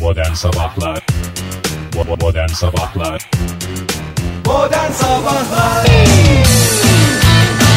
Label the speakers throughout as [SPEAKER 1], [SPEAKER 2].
[SPEAKER 1] Modern Sabahlar Bo- Modern Sabahlar
[SPEAKER 2] Modern Sabahlar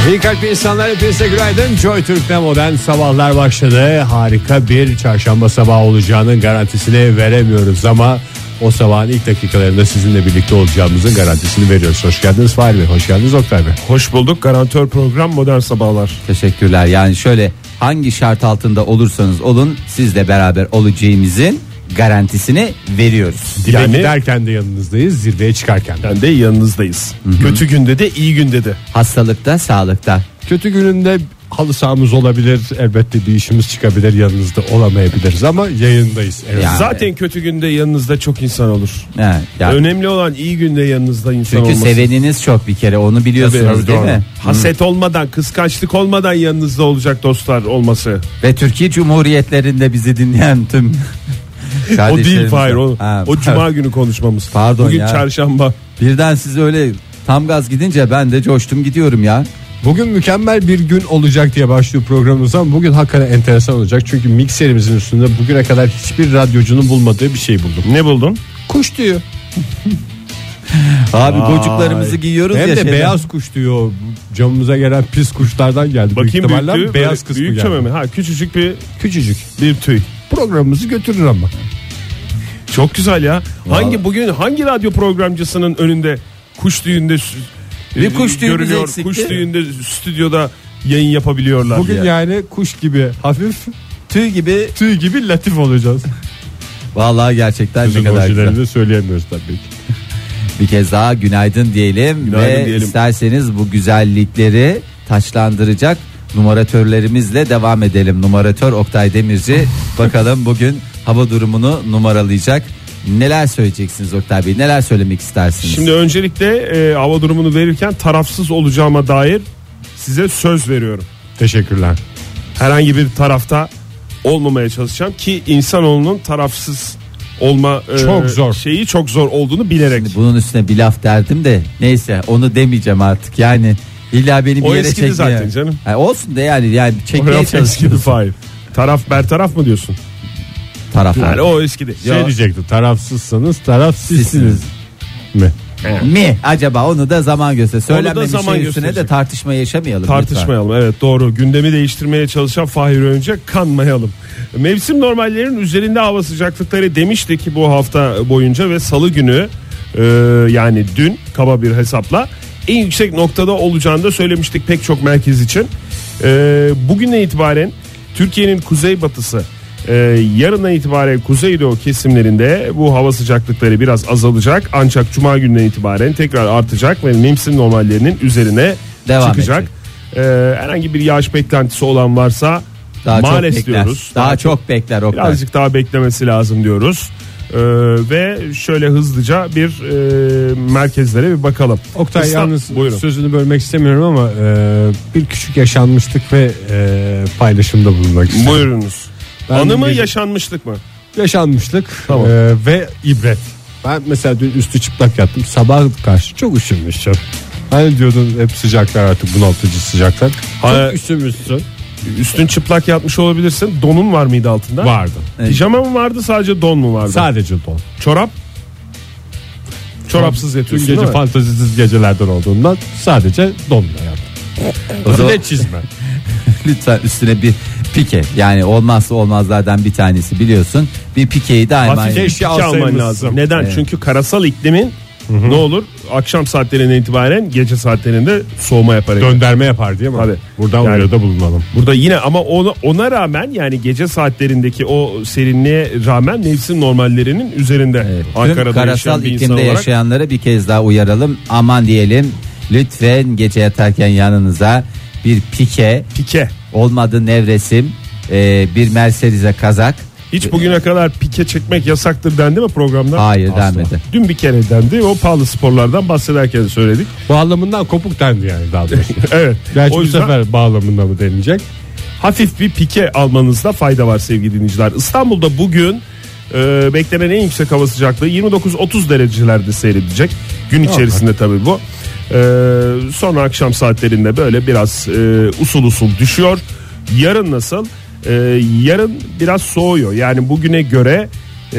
[SPEAKER 3] İyi kalpli insanlar hepinize günaydın. Joy Türk'te modern sabahlar başladı. Harika bir çarşamba sabahı olacağının garantisini veremiyoruz ama o sabahın ilk dakikalarında sizinle birlikte olacağımızın garantisini veriyoruz. Hoş geldiniz Fahri Bey, hoş geldiniz Oktay Bey.
[SPEAKER 4] Hoş bulduk. Garantör program Modern Sabahlar.
[SPEAKER 5] Teşekkürler. Yani şöyle hangi şart altında olursanız olun sizle beraber olacağımızın garantisini veriyoruz.
[SPEAKER 3] Yani
[SPEAKER 4] Yani
[SPEAKER 3] giderken de yanınızdayız, zirveye çıkarken de.
[SPEAKER 4] ben de yanınızdayız. Kötü günde de iyi günde de.
[SPEAKER 5] Hastalıkta, sağlıkta.
[SPEAKER 3] Kötü gününde halı sahamız olabilir, elbette bir işimiz çıkabilir, yanınızda olamayabiliriz ama yayındayız. Evet.
[SPEAKER 5] Ya. Yani.
[SPEAKER 4] Zaten kötü günde yanınızda çok insan olur.
[SPEAKER 5] He, yani
[SPEAKER 4] Önemli olan iyi günde yanınızda insan
[SPEAKER 5] çünkü
[SPEAKER 4] olması.
[SPEAKER 5] seveniniz çok bir kere onu biliyorsunuz
[SPEAKER 4] Tabii,
[SPEAKER 5] değil
[SPEAKER 4] doğru.
[SPEAKER 5] mi?
[SPEAKER 4] Haset olmadan, kıskançlık olmadan yanınızda olacak dostlar olması.
[SPEAKER 5] Ve Türkiye Cumhuriyetlerinde bizi dinleyen tüm
[SPEAKER 4] O değil
[SPEAKER 5] kardeşlerimiz-
[SPEAKER 4] Fahir o.
[SPEAKER 5] Ha,
[SPEAKER 4] o cuma günü konuşmamız.
[SPEAKER 5] Pardon
[SPEAKER 4] Bugün
[SPEAKER 5] ya.
[SPEAKER 4] çarşamba.
[SPEAKER 5] Birden siz öyle tam gaz gidince ben de coştum gidiyorum ya.
[SPEAKER 3] Bugün mükemmel bir gün olacak diye başlıyor programımız ama bugün hakikaten enteresan olacak. Çünkü mikserimizin üstünde bugüne kadar hiçbir radyocunun bulmadığı bir şey buldum.
[SPEAKER 4] Ne buldun?
[SPEAKER 3] Kuş diyor.
[SPEAKER 5] Abi gocuklarımızı giyiyoruz
[SPEAKER 3] Hem de
[SPEAKER 5] ya. şeyden.
[SPEAKER 3] beyaz kuş diyor. Camımıza gelen pis kuşlardan geldi. Büyük
[SPEAKER 4] Bakayım
[SPEAKER 3] ihtimalle
[SPEAKER 4] büyüklüğü.
[SPEAKER 3] beyaz
[SPEAKER 4] Böyle
[SPEAKER 3] kısmı
[SPEAKER 4] büyük
[SPEAKER 3] geldi.
[SPEAKER 4] çöme mi? Ha küçücük bir
[SPEAKER 3] Küçücük.
[SPEAKER 4] bir tüy.
[SPEAKER 3] Programımızı götürür ama.
[SPEAKER 4] Çok güzel ya. Hangi bugün hangi radyo programcısının önünde kuş düğünde sü-
[SPEAKER 5] Bir kuş düğünümüz
[SPEAKER 4] görünüyor,
[SPEAKER 5] eksikti.
[SPEAKER 4] Kuş düğünde stüdyoda yayın yapabiliyorlar.
[SPEAKER 3] Bugün
[SPEAKER 4] Ya.
[SPEAKER 3] yani kuş gibi hafif
[SPEAKER 5] tüy gibi.
[SPEAKER 3] tüy gibi latif olacağız.
[SPEAKER 5] Vallahi gerçekten
[SPEAKER 3] Bizim
[SPEAKER 5] ne kadar güzel.
[SPEAKER 3] orijinalini söyleyemiyoruz tabii ki.
[SPEAKER 5] Bir kez daha günaydın diyelim
[SPEAKER 4] Günaydın
[SPEAKER 5] ve
[SPEAKER 4] diyelim.
[SPEAKER 5] isterseniz bu güzellikleri taçlandıracak numaratörlerimizle devam edelim. Numaratör Oktay Demirci bakalım bugün hava durumunu numaralayacak. Neler söyleyeceksiniz Oktay Bey? Neler söylemek istersiniz?
[SPEAKER 4] Şimdi öncelikle e, hava durumunu verirken tarafsız olacağıma dair size söz veriyorum.
[SPEAKER 3] Teşekkürler.
[SPEAKER 4] Herhangi bir tarafta olmamaya çalışacağım ki insanoğlunun tarafsız olma e,
[SPEAKER 3] Çok zor.
[SPEAKER 4] şeyi çok zor olduğunu bilerek.
[SPEAKER 5] bunun üstüne bir laf derdim de neyse onu demeyeceğim artık. Yani illa beni bir
[SPEAKER 4] O
[SPEAKER 5] yere
[SPEAKER 4] eskidi
[SPEAKER 5] çekmeye.
[SPEAKER 4] zaten canım.
[SPEAKER 5] Ha, olsun de yani yani
[SPEAKER 4] Oraya
[SPEAKER 5] çekmeye
[SPEAKER 4] eskidi
[SPEAKER 5] çalışıyoruz
[SPEAKER 4] Fahir. Taraf bertaraf mı diyorsun?
[SPEAKER 5] taraflar.
[SPEAKER 4] Yani o eskidi.
[SPEAKER 3] Şey diyecektim tarafsızsanız tarafsizsiniz. Mi?
[SPEAKER 5] Mi acaba onu da zaman göster. Söylenmemiş
[SPEAKER 4] zaman
[SPEAKER 5] şey üstüne de
[SPEAKER 4] gösterecek.
[SPEAKER 5] tartışma yaşamayalım. lütfen.
[SPEAKER 4] Tartışmayalım evet doğru gündemi değiştirmeye çalışan Fahir Önce kanmayalım. Mevsim normallerinin üzerinde hava sıcaklıkları demişti ki bu hafta boyunca ve salı günü e, yani dün kaba bir hesapla en yüksek noktada olacağını da söylemiştik pek çok merkez için. E, bugüne itibaren Türkiye'nin kuzeybatısı e, yarına itibaren kuzeydoğu kesimlerinde bu hava sıcaklıkları biraz azalacak ancak cuma gününe itibaren tekrar artacak ve mevsim normallerinin üzerine
[SPEAKER 5] Devam
[SPEAKER 4] çıkacak.
[SPEAKER 5] edecek.
[SPEAKER 4] Ee, herhangi bir yağış beklentisi olan varsa
[SPEAKER 5] Daha çok
[SPEAKER 4] maalesef
[SPEAKER 5] bekler.
[SPEAKER 4] diyoruz.
[SPEAKER 5] Daha, çok bekler Oktay.
[SPEAKER 4] birazcık daha beklemesi lazım diyoruz. Ee, ve şöyle hızlıca bir e, merkezlere bir bakalım.
[SPEAKER 3] Oktay
[SPEAKER 4] İsta-
[SPEAKER 3] yalnız
[SPEAKER 4] buyurun.
[SPEAKER 3] sözünü bölmek istemiyorum ama e, bir küçük yaşanmışlık ve e, paylaşımda bulunmak istiyorum.
[SPEAKER 4] Buyurunuz.
[SPEAKER 3] Ben
[SPEAKER 4] Anı mı
[SPEAKER 3] bir-
[SPEAKER 4] yaşanmışlık mı?
[SPEAKER 3] yaşanmışlık
[SPEAKER 4] Tamam.
[SPEAKER 3] e, ve ibret. Ben mesela dün üstü çıplak yattım. Sabah karşı çok üşümüştüm. Hani diyordun hep sıcaklar artık bunaltıcı sıcaklar.
[SPEAKER 4] Ha-
[SPEAKER 3] Çok üşümüşsün.
[SPEAKER 4] Üstün çıplak yatmış olabilirsin. Donun var mıydı altında?
[SPEAKER 3] Vardı.
[SPEAKER 5] Evet.
[SPEAKER 4] Pijama mı vardı sadece don mu vardı?
[SPEAKER 3] Sadece don.
[SPEAKER 4] Çorap? Çorapsız
[SPEAKER 3] Dün
[SPEAKER 4] yatıyorsun
[SPEAKER 3] gece
[SPEAKER 4] değil mi?
[SPEAKER 3] fantazisiz gecelerden olduğundan sadece donla yattım.
[SPEAKER 5] O zaman-
[SPEAKER 3] Ve çizme.
[SPEAKER 5] lütfen üstüne bir pike. Yani olmazsa olmazlardan bir tanesi biliyorsun. Bir pikeyi daima
[SPEAKER 3] Hafif eşya
[SPEAKER 4] Pike alman
[SPEAKER 3] alsaymışsın.
[SPEAKER 4] lazım. Neden?
[SPEAKER 5] Evet.
[SPEAKER 4] Çünkü karasal iklimin ne olur akşam saatlerinden itibaren gece saatlerinde soğuma yapar.
[SPEAKER 3] Dönderme yapar diye mi?
[SPEAKER 4] Tabii.
[SPEAKER 3] Buradan
[SPEAKER 4] Yani-
[SPEAKER 3] uyarıda bulunalım.
[SPEAKER 4] Burada yine ama ona, ona rağmen yani gece saatlerindeki o serinliğe rağmen mevsim normallerinin üzerinde.
[SPEAKER 5] Evet. Tüm
[SPEAKER 4] Ankara'da yaşayan
[SPEAKER 5] karasal
[SPEAKER 4] bir
[SPEAKER 5] iklimde
[SPEAKER 4] insan olarak
[SPEAKER 5] yaşayanlara bir kez daha uyaralım. Aman diyelim lütfen gece yatarken yanınıza bir pike
[SPEAKER 4] pike.
[SPEAKER 5] olmadı nevresim e, bir merserize kazak.
[SPEAKER 4] Hiç bugüne kadar pike çekmek yasaktır dendi mi programda?
[SPEAKER 5] Hayır
[SPEAKER 4] Asla.
[SPEAKER 5] denmedi.
[SPEAKER 4] Dün bir kere dendi. O pahalı sporlardan bahsederken söyledik.
[SPEAKER 3] Bağlamından kopuk dendi yani daha doğrusu.
[SPEAKER 4] Evet.
[SPEAKER 3] Gerçi
[SPEAKER 4] o
[SPEAKER 3] bu
[SPEAKER 4] yüzden
[SPEAKER 3] sefer bağlamında mı denilecek?
[SPEAKER 4] hafif bir pike almanızda fayda var sevgili dinleyiciler. İstanbul'da bugün e, beklenen en yüksek hava sıcaklığı 29-30 derecelerde seyredecek. Gün içerisinde tabii bu. E, sonra akşam saatlerinde böyle biraz e, usul usul düşüyor. Yarın nasıl? E, yarın biraz soğuyor. Yani bugüne göre e,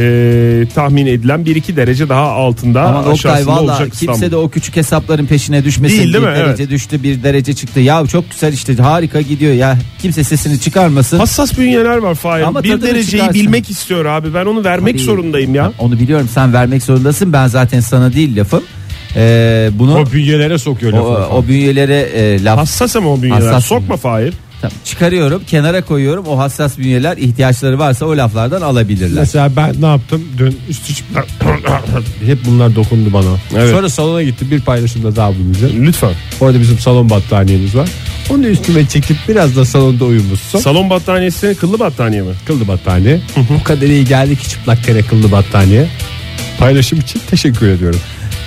[SPEAKER 4] tahmin edilen 1-2 derece daha altında
[SPEAKER 5] Aman Oktay
[SPEAKER 4] aşağısında
[SPEAKER 5] valla
[SPEAKER 4] olacak
[SPEAKER 5] kimse
[SPEAKER 4] İstanbul.
[SPEAKER 5] de o küçük hesapların peşine düşmesin.
[SPEAKER 4] Değil, değil
[SPEAKER 5] bir
[SPEAKER 4] mi?
[SPEAKER 5] derece düştü bir derece çıktı. Ya çok güzel işte harika gidiyor ya. Kimse sesini çıkarmasın.
[SPEAKER 4] Hassas bünyeler var Fahir.
[SPEAKER 5] Ama
[SPEAKER 4] bir
[SPEAKER 5] tadını
[SPEAKER 4] dereceyi
[SPEAKER 5] çıkarsın.
[SPEAKER 4] bilmek istiyor abi. Ben onu vermek
[SPEAKER 5] Tabii.
[SPEAKER 4] zorundayım ya.
[SPEAKER 5] Onu biliyorum sen vermek zorundasın. Ben zaten sana değil lafım. Ee, bunu
[SPEAKER 3] O bünyelere sokuyor
[SPEAKER 5] o,
[SPEAKER 3] lafı.
[SPEAKER 5] o bünyelere e, laf
[SPEAKER 4] Hassas ama o bünyeler.
[SPEAKER 5] Hassas
[SPEAKER 4] Sokma Fahir.
[SPEAKER 5] Tamam, çıkarıyorum kenara koyuyorum. O hassas bünyeler ihtiyaçları varsa o laflardan alabilirler.
[SPEAKER 3] Mesela ben ne yaptım dün üst üstüme hep bunlar dokundu bana.
[SPEAKER 4] Evet.
[SPEAKER 3] Sonra salona gittim bir paylaşımda daha bulunacağım.
[SPEAKER 4] Lütfen.
[SPEAKER 3] Orada bizim salon battaniyemiz var. Onu üstüme çekip biraz da salonda uyumuşsun.
[SPEAKER 4] Salon battaniyesi kıllı battaniye mi?
[SPEAKER 3] kıllı battaniye. O kadar iyi geldi ki çıplak kere kıllı battaniye. Paylaşım için teşekkür ediyorum.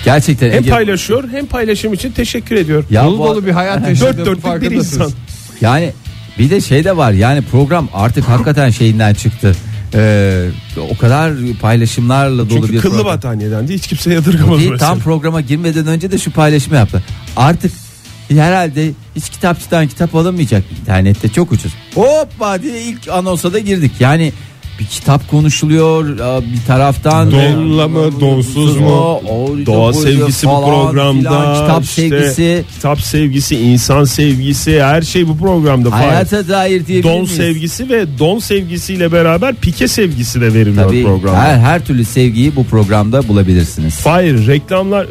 [SPEAKER 5] Gerçekten
[SPEAKER 4] Hem
[SPEAKER 5] Ege-
[SPEAKER 4] paylaşıyor hem paylaşım için teşekkür ediyor.
[SPEAKER 5] Ya
[SPEAKER 3] Dolu
[SPEAKER 5] bu-
[SPEAKER 3] dolu bir hayat yaşadığım
[SPEAKER 4] Dört dörtlük bir
[SPEAKER 3] farkındasınız.
[SPEAKER 4] insan.
[SPEAKER 5] Yani bir de şey de var yani program artık hakikaten şeyinden çıktı. Ee, o kadar paylaşımlarla dolu
[SPEAKER 4] Çünkü
[SPEAKER 5] bir
[SPEAKER 4] kıllı
[SPEAKER 5] program.
[SPEAKER 4] battaniyeden de hiç kimse yadırgamadı.
[SPEAKER 5] Değil,
[SPEAKER 4] mesela.
[SPEAKER 5] tam programa girmeden önce de şu paylaşımı yaptı. Artık herhalde hiç kitapçıdan kitap alınmayacak. İnternette çok ucuz. Hoppa diye ilk anonsa da girdik. Yani bir kitap konuşuluyor aa, bir taraftan.
[SPEAKER 4] Donla mı, donsuz mu?
[SPEAKER 5] O- o-
[SPEAKER 4] Doğa
[SPEAKER 5] o-
[SPEAKER 4] sevgisi bu
[SPEAKER 5] falan
[SPEAKER 4] programda.
[SPEAKER 5] filan, Kitap
[SPEAKER 4] işte
[SPEAKER 5] sevgisi.
[SPEAKER 4] Kitap sevgisi, insan sevgisi her şey bu programda. Fahir.
[SPEAKER 5] Hayata dair diyebilir
[SPEAKER 4] Don
[SPEAKER 5] miyiz?
[SPEAKER 4] sevgisi ve don sevgisiyle beraber pike sevgisi de veriliyor
[SPEAKER 5] Tabii
[SPEAKER 4] programda.
[SPEAKER 5] her, her türlü sevgiyi bu programda bulabilirsiniz.
[SPEAKER 4] Hayır reklamlar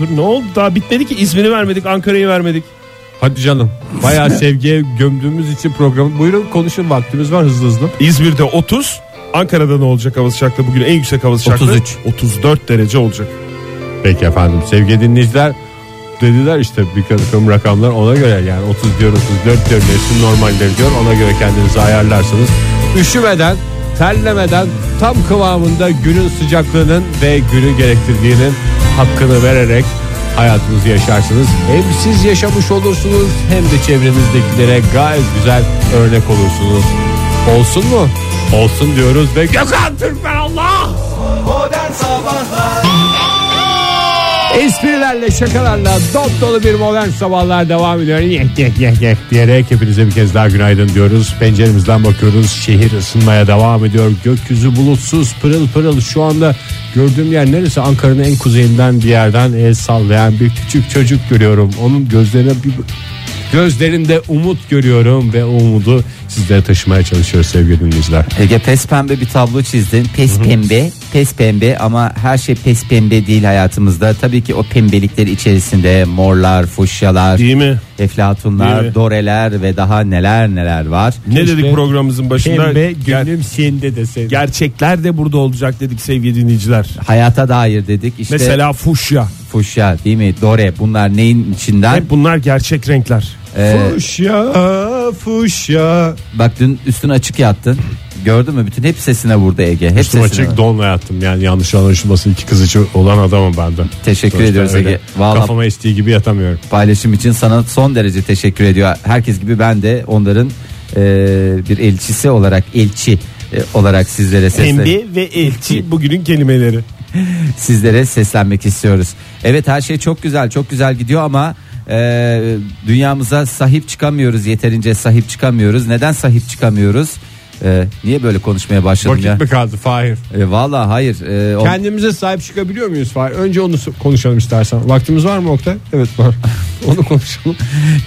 [SPEAKER 4] Dur ne oldu daha bitmedi ki İzmir'i vermedik Ankara'yı vermedik.
[SPEAKER 3] Hadi canım. Bayağı sevgiye gömdüğümüz için programı. Buyurun konuşun vaktimiz var hızlı hızlı.
[SPEAKER 4] İzmir'de 30 Ankara'da ne olacak hava sıcaklığı bugün en yüksek hava sıcaklığı
[SPEAKER 5] 33.
[SPEAKER 4] 34 derece olacak.
[SPEAKER 3] Peki efendim sevgili dinleyiciler dediler işte bir takım rakamlar ona göre yani 30 diyor 34 diyor mevsim normalleri diyor ona göre kendinizi ayarlarsınız. Üşümeden terlemeden tam kıvamında günün sıcaklığının ve günü gerektirdiğinin hakkını vererek hayatınızı yaşarsınız. Hem siz yaşamış olursunuz hem de çevrenizdekilere gayet güzel örnek olursunuz. Olsun mu? Olsun diyoruz ve Gökhan Türkmen Allah!
[SPEAKER 2] Modern Sabahlar
[SPEAKER 3] Esprilerle şakalarla dop dolu bir modern sabahlar devam ediyor. Yek yek yek yek diyerek hepinize bir kez daha günaydın diyoruz. Penceremizden bakıyoruz. Şehir ısınmaya devam ediyor. Gökyüzü bulutsuz pırıl pırıl. Şu anda gördüğüm yer neresi? Ankara'nın en kuzeyinden bir yerden el sallayan bir küçük çocuk görüyorum. Onun gözlerine bir Gözlerinde umut görüyorum ve o umudu sizlere taşımaya çalışıyoruz sevgili dinleyiciler.
[SPEAKER 5] Ege pes pembe bir tablo çizdin. Pes pembe, pes pembe ama her şey pes pembe değil hayatımızda. Tabii ki o pembelikler içerisinde morlar, fuşyalar,
[SPEAKER 4] Değil mi?
[SPEAKER 5] eflatunlar,
[SPEAKER 4] Değil mi?
[SPEAKER 5] doreler ve daha neler neler var.
[SPEAKER 4] Ne
[SPEAKER 3] İşte
[SPEAKER 4] dedik programımızın başında?
[SPEAKER 3] Pembe
[SPEAKER 4] Ger-
[SPEAKER 3] gönlüm sende de sevgili.
[SPEAKER 4] gerçekler de burada olacak dedik sevgili dinleyiciler.
[SPEAKER 5] Hayata dair dedik işte
[SPEAKER 4] Mesela fuşya.
[SPEAKER 5] fuşya değil mi? Dore bunlar neyin içinden?
[SPEAKER 4] Hep bunlar gerçek renkler.
[SPEAKER 5] Ee,
[SPEAKER 3] Fuşya fuşya.
[SPEAKER 5] bak dün üstün açık yattın. Gördün mü? Bütün hep sesine vurdu Ege. Hep
[SPEAKER 3] Üstüm
[SPEAKER 5] sesine
[SPEAKER 3] açık
[SPEAKER 5] vurdu.
[SPEAKER 3] donla yattım yani yanlış anlaşılmasın iki kız içi olan adamım ben de.
[SPEAKER 5] Teşekkür
[SPEAKER 3] Sonuçta
[SPEAKER 5] ediyoruz
[SPEAKER 3] öyle
[SPEAKER 5] Ege. Vallahi
[SPEAKER 3] Kafama estiği gibi yatamıyorum.
[SPEAKER 5] paylaşım için sana son derece teşekkür ediyor. Herkes gibi ben de onların e, bir elçisi olarak elçi e, olarak sizlere seslen
[SPEAKER 4] Pembe ve elçi bugünün kelimeleri.
[SPEAKER 5] sizlere seslenmek istiyoruz. Evet her şey çok güzel çok güzel gidiyor ama e, dünyamıza sahip çıkamıyoruz yeterince sahip çıkamıyoruz. Neden sahip çıkamıyoruz? E, niye böyle konuşmaya başladım
[SPEAKER 3] Vakit
[SPEAKER 5] ya?
[SPEAKER 3] mi kaldı Fahir?
[SPEAKER 5] E, Valla hayır. E, o-
[SPEAKER 3] Kendimize sahip çıkabiliyor muyuz Fahir? Önce onu so- konuşalım istersen. Vaktimiz var mı Oktay? Evet var. onu konuşalım.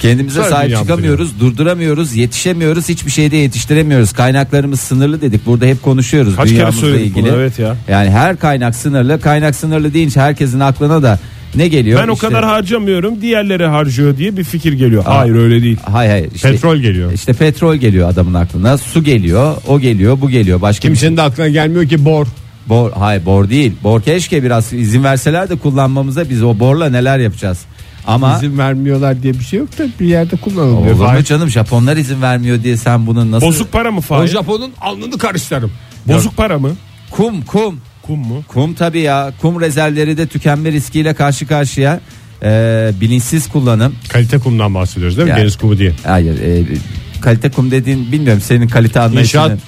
[SPEAKER 5] Kendimize
[SPEAKER 3] Güzel
[SPEAKER 5] sahip
[SPEAKER 3] dünya
[SPEAKER 5] çıkamıyoruz, durduramıyoruz, yetişemiyoruz, hiçbir şeyde yetiştiremiyoruz. Kaynaklarımız sınırlı dedik. Burada hep konuşuyoruz
[SPEAKER 4] Kaç kere
[SPEAKER 5] dünyamızla
[SPEAKER 4] söyledik
[SPEAKER 5] ilgili.
[SPEAKER 4] bunu evet ya.
[SPEAKER 5] Yani her kaynak sınırlı. Kaynak sınırlı deyince herkesin aklına da ne geliyor?
[SPEAKER 4] Ben o
[SPEAKER 5] İşte-
[SPEAKER 4] kadar harcamıyorum diğerleri harcıyor diye bir fikir geliyor.
[SPEAKER 5] Aa.
[SPEAKER 4] Hayır öyle değil.
[SPEAKER 5] Hayır hayır. İşte,
[SPEAKER 3] Petrol geliyor.
[SPEAKER 5] işte petrol geliyor adamın aklına. Su geliyor, o geliyor, bu geliyor. Başka bir şey.
[SPEAKER 3] Kimsenin de aklına gelmiyor ki bor.
[SPEAKER 5] Bor, hayır bor değil. Bor keşke biraz izin verseler de kullanmamıza biz o borla neler yapacağız. Ama
[SPEAKER 3] İzin vermiyorlar diye bir şey yok da bir yerde
[SPEAKER 5] olur
[SPEAKER 3] kullanılıyor.
[SPEAKER 5] mu
[SPEAKER 3] Fahir.
[SPEAKER 5] canım Japonlar izin vermiyor diye sen bunun nasıl
[SPEAKER 4] Bozuk para mı
[SPEAKER 3] O
[SPEAKER 4] Fahir?
[SPEAKER 3] Japon'un alnını karıştırırım.
[SPEAKER 4] Bozuk para mı?
[SPEAKER 5] kum kum
[SPEAKER 4] Kum mu?
[SPEAKER 5] Kum tabii ya. Kum rezervleri de tükenme riskiyle karşı karşıya. Ee, bilinçsiz kullanım.
[SPEAKER 3] Kalite kumdan bahsediyoruz değil mi?
[SPEAKER 5] Yani.
[SPEAKER 3] Deniz kumu diye.
[SPEAKER 5] Hayır. e, kalite kum dediğin bilmiyorum senin kalite anlayışını.
[SPEAKER 3] İnşaat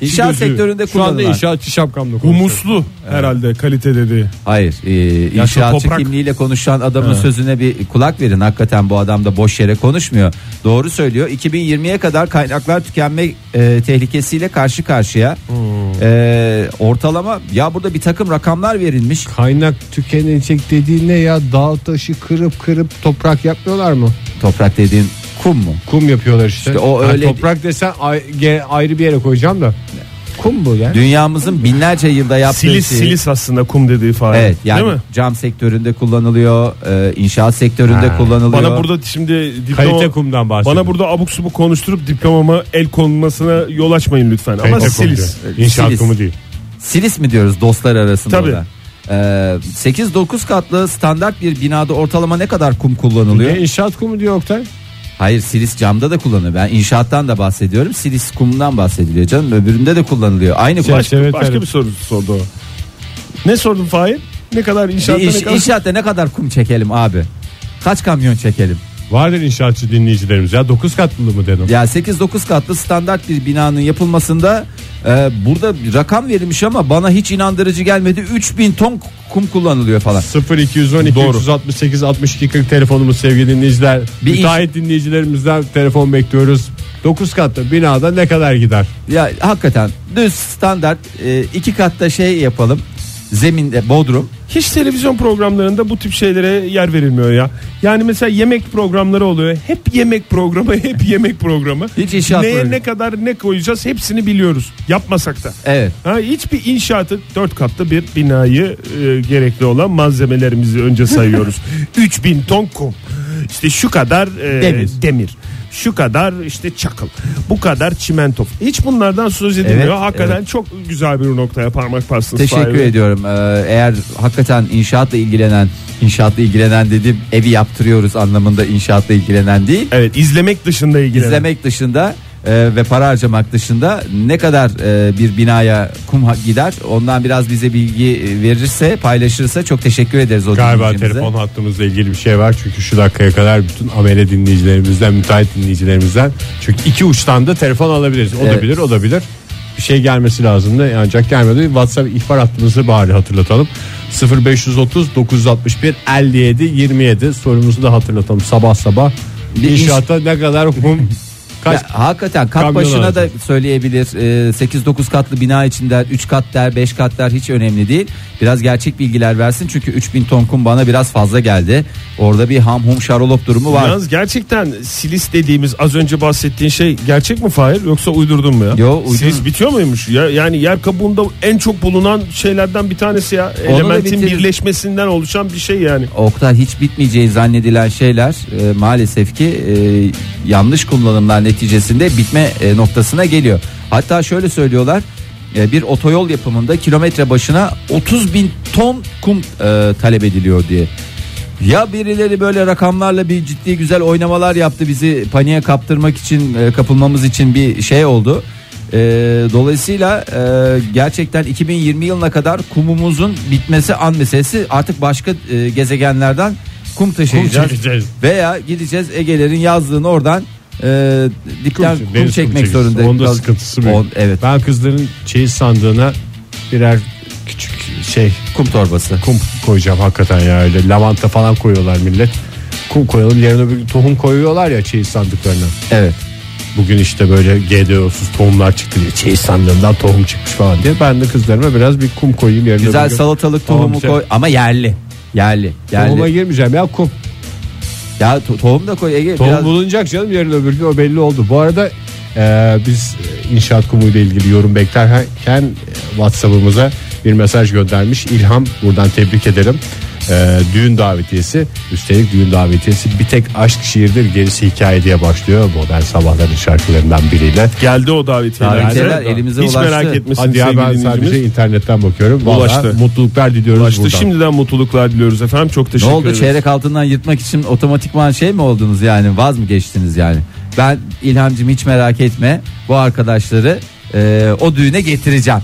[SPEAKER 5] İnşaat
[SPEAKER 4] gözü.
[SPEAKER 5] sektöründe
[SPEAKER 3] Şu anda
[SPEAKER 5] kullanılan.
[SPEAKER 3] inşaatçı şapkamla konuşuyorum.
[SPEAKER 4] Humuslu herhalde kalite dediği.
[SPEAKER 5] Hayır. E,
[SPEAKER 4] Ya şu
[SPEAKER 5] inşaatçı
[SPEAKER 4] toprak-
[SPEAKER 5] kimliğiyle konuşan adamın sözüne bir kulak verin. Hakikaten bu adam da boş yere konuşmuyor. Doğru söylüyor. 2020'ye kadar kaynaklar tükenme e, tehlikesiyle karşı karşıya. E, ortalama ya burada bir takım rakamlar verilmiş.
[SPEAKER 3] Kaynak tükenecek dediğin ne ya dağ taşı kırıp kırıp toprak yapmıyorlar mı?
[SPEAKER 5] Toprak dediğin kum mu?
[SPEAKER 3] Kum yapıyorlar işte.
[SPEAKER 5] İşte o
[SPEAKER 3] Ha,
[SPEAKER 5] öyle-
[SPEAKER 3] Toprak desen ay- ge- ayrı bir yere koyacağım da. Kum bu ya.
[SPEAKER 5] Dünyamızın binlerce yılda yaptığı
[SPEAKER 4] Silis
[SPEAKER 5] şeyi-
[SPEAKER 4] silis aslında kum dediği fare.
[SPEAKER 5] Evet yani
[SPEAKER 4] Değil mi?
[SPEAKER 5] cam sektöründe kullanılıyor, e, inşaat sektöründe kullanılıyor.
[SPEAKER 4] Bana burada şimdi diploma,
[SPEAKER 3] Kalite kumdan bahsediyor.
[SPEAKER 4] bana burada abuk subuk konuşturup diplomama el konulmasına yol açmayın lütfen. Ama
[SPEAKER 3] Kalite kum
[SPEAKER 4] silis.
[SPEAKER 3] diyor. İnşaat
[SPEAKER 5] Silis.
[SPEAKER 3] kumu değil.
[SPEAKER 5] Silis mi diyoruz dostlar arasında
[SPEAKER 4] Tabii.
[SPEAKER 5] da? E, 8-9 katlı standart bir binada ortalama ne kadar kum kullanılıyor?
[SPEAKER 3] Ne E, inşaat kumu diyor Oktay?
[SPEAKER 5] Hayır silis camda da kullanılıyor. Ben inşaattan da bahsediyorum. Silis kumdan bahsediliyor canım. Öbüründe de kullanılıyor. Aynı kumaş.
[SPEAKER 4] Başka,
[SPEAKER 3] Evet,
[SPEAKER 4] başka
[SPEAKER 3] evet.
[SPEAKER 4] bir soru sordu o. Ne sordun Fahir? Ne kadar inşaatta
[SPEAKER 5] Bir iş-
[SPEAKER 4] ne kadar...
[SPEAKER 5] inşaatta ne kadar kum çekelim abi? Kaç kamyon çekelim?
[SPEAKER 3] Vardır inşaatçı dinleyicilerimiz ya 9 katlı mı dedim.
[SPEAKER 5] Ya 8-9 katlı standart bir binanın yapılmasında e, burada bir rakam verilmiş ama bana hiç inandırıcı gelmedi. 3000 ton kum kullanılıyor falan.
[SPEAKER 3] 0212
[SPEAKER 5] Doğru.
[SPEAKER 3] 368 62 40 telefonumuz sevgili dinleyiciler.
[SPEAKER 5] Bir
[SPEAKER 3] Müteahhit dinleyicilerimizden telefon bekliyoruz. 9 katlı binada ne kadar gider?
[SPEAKER 5] Ya hakikaten düz standart 2 katta şey yapalım. Zeminde bodrum.
[SPEAKER 4] Hiç televizyon programlarında bu tip şeylere yer verilmiyor ya. Yani mesela yemek programları oluyor. Hep yemek programı, hep yemek programı.
[SPEAKER 5] Hiç inşaat
[SPEAKER 4] Neye
[SPEAKER 5] programı.
[SPEAKER 4] ne kadar ne koyacağız hepsini biliyoruz. Yapmasak da.
[SPEAKER 5] Evet.
[SPEAKER 4] Ha, hiçbir inşaatı dört katlı bir binayı e, gerekli olan malzemelerimizi önce sayıyoruz. 3000 ton kum. İşte şu kadar e,
[SPEAKER 5] Demir.
[SPEAKER 4] demir. Şu kadar işte çakıl. Bu kadar çimento. Hiç bunlardan söz edilmiyor.
[SPEAKER 5] Evet,
[SPEAKER 4] Hakikaten çok güzel bir noktaya parmak bastınız.
[SPEAKER 5] Teşekkür
[SPEAKER 4] Fahir Bey.
[SPEAKER 5] ediyorum. Ee, Eğer hakikaten inşaatla ilgilenen, inşaatla ilgilenen dediğim evi yaptırıyoruz anlamında inşaatla ilgilenen değil.
[SPEAKER 4] Evet izlemek dışında ilgilenen.
[SPEAKER 5] İzlemek dışında e, ve para harcamak dışında ne kadar e, bir binaya kum ha- gider ondan biraz bize bilgi e, verirse paylaşırsa çok teşekkür ederiz o
[SPEAKER 3] Galiba
[SPEAKER 5] dinleyicimize.
[SPEAKER 3] telefon hattımızla ilgili bir şey var. Çünkü şu dakikaya kadar bütün amele dinleyicilerimizden, müteahhit dinleyicilerimizden. Çünkü iki uçtan da telefon alabiliriz. O
[SPEAKER 5] Evet.
[SPEAKER 3] da bilir, o da bilir. Bir şey gelmesi lazım da ancak gelmedi. WhatsApp ihbar hattımızı bari hatırlatalım. 0530 961 57 27 sorumuzu da hatırlatalım sabah sabah.
[SPEAKER 5] Bir iş-
[SPEAKER 3] İnşaatta ne kadar hum kaç
[SPEAKER 5] Ya, hakikaten kat
[SPEAKER 3] kamyon
[SPEAKER 5] başına
[SPEAKER 3] lazım?
[SPEAKER 5] da söyleyebilir. E, 8-9 katlı bina içinde 3 kat der, 5 kat der hiç önemli değil. Biraz gerçek bilgiler versin çünkü 3000 ton kum bana biraz fazla geldi. Orada bir ham hum şarolop durumu var.
[SPEAKER 4] Yalnız gerçekten silis dediğimiz az önce bahsettiğin şey gerçek mi Fahir yoksa uydurdun mu ya?
[SPEAKER 5] Yo, uydurdum.
[SPEAKER 4] Silis bitiyor muymuş? Ya, yani yer kabuğunda en çok bulunan şeylerden bir tanesi ya.
[SPEAKER 5] Onu da
[SPEAKER 4] Elementin
[SPEAKER 5] bitirdim.
[SPEAKER 4] birleşmesinden oluşan bir şey yani.
[SPEAKER 5] Oktay hiç bitmeyeceği zannedilen şeyler e, maalesef ki e, yanlış kullanımlar neticesinde bitme e, noktasına geliyor. Hatta şöyle söylüyorlar e, bir otoyol yapımında kilometre başına 30 bin ton kum e, talep ediliyor diye. Ya birileri böyle rakamlarla bir ciddi güzel oynamalar yaptı bizi paniğe kaptırmak için e, kapılmamız için bir şey oldu. E, dolayısıyla e, gerçekten 2020 yılına kadar kumumuzun bitmesi an meselesi artık başka e, gezegenlerden kum taşıyacağız.
[SPEAKER 3] çekeceğiz.
[SPEAKER 5] Veya gideceğiz Ege'lerin yazlığını oradan e, dipten kum,
[SPEAKER 3] deniz kumu
[SPEAKER 5] çekmek
[SPEAKER 3] çekeceğiz.
[SPEAKER 5] zorunda.
[SPEAKER 3] Onda
[SPEAKER 5] kal-
[SPEAKER 3] sıkıntısı büyük.
[SPEAKER 5] On- evet
[SPEAKER 3] Ben kızların şeyi sandığına birer küçük şey
[SPEAKER 5] kum torbası.
[SPEAKER 3] kum koyacağım hakikaten ya öyle lavanta falan koyuyorlar millet. Kum koyalım yarın öbür gün tohum koyuyorlar ya çeyiz sandıklarına.
[SPEAKER 5] Evet.
[SPEAKER 3] Bugün işte böyle GDO'suz tohumlar çıktı diye çeyiz sandığından tohum çıkmış falan diye. Ben de kızlarıma biraz bir kum koyayım yarın
[SPEAKER 5] Güzel
[SPEAKER 3] öbür gün.
[SPEAKER 5] salatalık
[SPEAKER 3] Tamam,
[SPEAKER 5] tohumu
[SPEAKER 3] güzel.
[SPEAKER 5] koy ama yerli. Yerli. Yerli.
[SPEAKER 3] Tohuma girmeyeceğim ya kum.
[SPEAKER 5] Ya to- tohum da koy Ege.
[SPEAKER 3] Tohum
[SPEAKER 5] biraz-
[SPEAKER 3] bulunacak canım yarın öbür gün o belli oldu. Bu arada e, biz e, inşaat kumuyla ilgili yorum beklerken e, WhatsApp'ımıza bir mesaj göndermiş. İlham buradan tebrik ederim. E, düğün davetiyesi üstelik düğün davetiyesi bir tek aşk şiirdir gerisi hikaye diye başlıyor modern sabahların şarkılarından biriyle.
[SPEAKER 4] Geldi o davetiyeler.
[SPEAKER 5] Davetiyeler elimize
[SPEAKER 4] Hiç
[SPEAKER 5] ulaştı.
[SPEAKER 4] merak etmesin
[SPEAKER 3] Hadi ya
[SPEAKER 4] sevgili
[SPEAKER 3] ben sadece şey
[SPEAKER 4] dinleyicimiz.
[SPEAKER 3] internetten bakıyorum. Vallahi
[SPEAKER 4] Ulaştı.
[SPEAKER 3] mutluluklar diliyoruz
[SPEAKER 4] Ulaştı.
[SPEAKER 3] buradan.
[SPEAKER 4] Şimdiden mutluluklar diliyoruz efendim. Çok
[SPEAKER 5] Ne
[SPEAKER 4] teşekkür
[SPEAKER 5] oldu
[SPEAKER 4] ederiz.
[SPEAKER 5] çeyrek altından yırtmak için otomatikman şey mi oldunuz yani vaz mı geçtiniz yani? Ben İlhamcım hiç merak etme bu arkadaşları e, o düğüne getireceğim.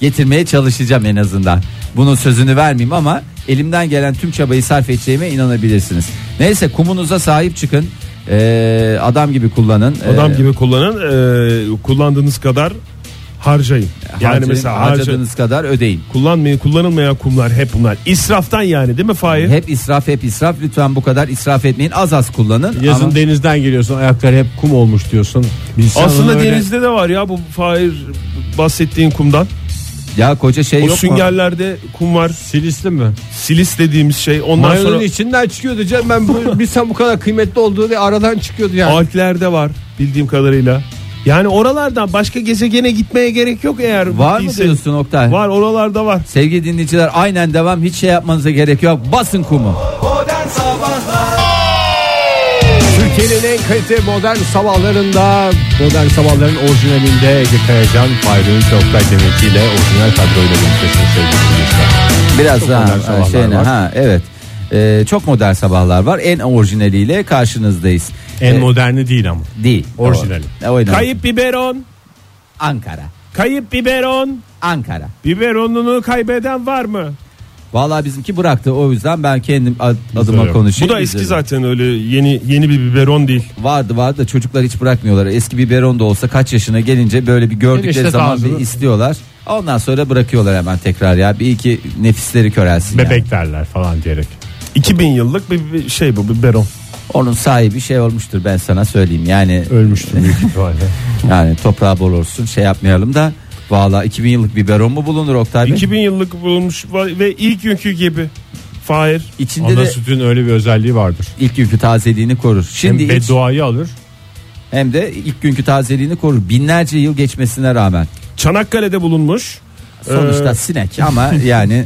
[SPEAKER 5] Getirmeye çalışacağım en azından. Bunun sözünü vermeyeyim ama elimden gelen tüm çabayı sarf edeceğime inanabilirsiniz. Neyse kumunuza sahip çıkın. E, adam gibi kullanın.
[SPEAKER 4] Adam
[SPEAKER 5] E,
[SPEAKER 4] gibi kullanın. Ee, kullandığınız kadar harcayın. Yani
[SPEAKER 5] Harcayın,
[SPEAKER 4] mesela harca,
[SPEAKER 5] harcadığınız kadar ödeyin.
[SPEAKER 4] kullanmayın kullanılmayan kumlar hep bunlar. İsraftan yani değil mi Fahir?
[SPEAKER 5] Hep israf hep israf lütfen bu kadar israf etmeyin az az kullanın.
[SPEAKER 3] Yazın
[SPEAKER 5] Ama
[SPEAKER 3] denizden geliyorsun ayakları hep kum olmuş diyorsun. Bilsen
[SPEAKER 4] Aslında
[SPEAKER 3] onu öyle-
[SPEAKER 4] denizde de var ya bu Fahir bahsettiğin kumdan.
[SPEAKER 5] ya koca şey
[SPEAKER 3] E,
[SPEAKER 4] O
[SPEAKER 5] yok mu?
[SPEAKER 4] süngerlerde kum var.
[SPEAKER 3] Silisli mi?
[SPEAKER 4] Silis dediğimiz şey. Ondan
[SPEAKER 3] Mayonun
[SPEAKER 4] sonra
[SPEAKER 3] içinden çıkıyordu canım ben bu, bilsem bu kadar kıymetli olduğu diye aradan çıkıyordu yani.
[SPEAKER 4] Alplerde var bildiğim kadarıyla. Yani oralardan başka gezegene gitmeye gerek yok eğer.
[SPEAKER 5] Var mı
[SPEAKER 4] değilse-
[SPEAKER 5] diyorsun Oktay?
[SPEAKER 4] Var oralarda var.
[SPEAKER 5] Sevgili dinleyiciler aynen devam hiç şey yapmanıza gerek yok basın kumu.
[SPEAKER 2] Modern Sabahlar
[SPEAKER 3] Türkiye'nin en kalite modern sabahlarında modern sabahların orijinalinde Ege Kayacan, Fahri Öğünç, Oktay Demirci ile orijinal kadroyla buluşuyorsunuz sevgili dinleyiciler.
[SPEAKER 5] Biraz
[SPEAKER 3] Çok modern
[SPEAKER 5] daha
[SPEAKER 3] sabahlar
[SPEAKER 5] şeyine,
[SPEAKER 3] var.
[SPEAKER 5] ha evet. Ee, çok modern sabahlar var. En orijinaliyle karşınızdayız.
[SPEAKER 3] En
[SPEAKER 5] Ee,
[SPEAKER 3] moderni değil ama.
[SPEAKER 5] değil.
[SPEAKER 3] orijinali.
[SPEAKER 5] O- oynadı.
[SPEAKER 4] Kayıp biberon.
[SPEAKER 5] Ankara.
[SPEAKER 4] Kayıp biberon.
[SPEAKER 5] Ankara.
[SPEAKER 4] Biberonunu kaybeden var mı?
[SPEAKER 5] Vallahi bizimki bıraktı o yüzden ben kendim ad- adıma konuşayım.
[SPEAKER 3] Şey
[SPEAKER 4] Bu da eski
[SPEAKER 5] Üzülürüm.
[SPEAKER 4] zaten öyle yeni yeni bir biberon değil.
[SPEAKER 5] Vardı vardı da çocuklar hiç bırakmıyorlar. Eski biberon da olsa kaç yaşına gelince böyle bir gördükleri
[SPEAKER 3] Enişte
[SPEAKER 5] zaman
[SPEAKER 3] ağzını-
[SPEAKER 5] bir istiyorlar. Ondan sonra bırakıyorlar hemen tekrar ya. Bir iki nefisleri körelsin. yani.
[SPEAKER 3] Bebek derler falan diyerek.
[SPEAKER 4] 2000 yıllık bir, bir şey bu biberon.
[SPEAKER 5] Onun sahibi şey olmuştur ben sana söyleyeyim. Yani
[SPEAKER 3] Ölmüştüm büyük ihtimalle.
[SPEAKER 5] yani toprağı bol olsun şey yapmayalım da. Valla 2000 yıllık biberon mu bulunur Oktay Bey?
[SPEAKER 4] 2000 yıllık bulunmuş va- ve ilk günkü gibi. Fahir.
[SPEAKER 5] İçinde
[SPEAKER 3] Ana
[SPEAKER 5] de
[SPEAKER 3] sütün öyle bir özelliği vardır.
[SPEAKER 5] ilk günkü tazeliğini korur.
[SPEAKER 3] Hem
[SPEAKER 5] Şimdi iç,
[SPEAKER 3] bedduayı alır.
[SPEAKER 5] hem de ilk günkü tazeliğini korur. Binlerce yıl geçmesine rağmen.
[SPEAKER 4] Çanakkale'de bulunmuş.
[SPEAKER 5] Sonuçta
[SPEAKER 4] Ee,
[SPEAKER 5] sinek ama yani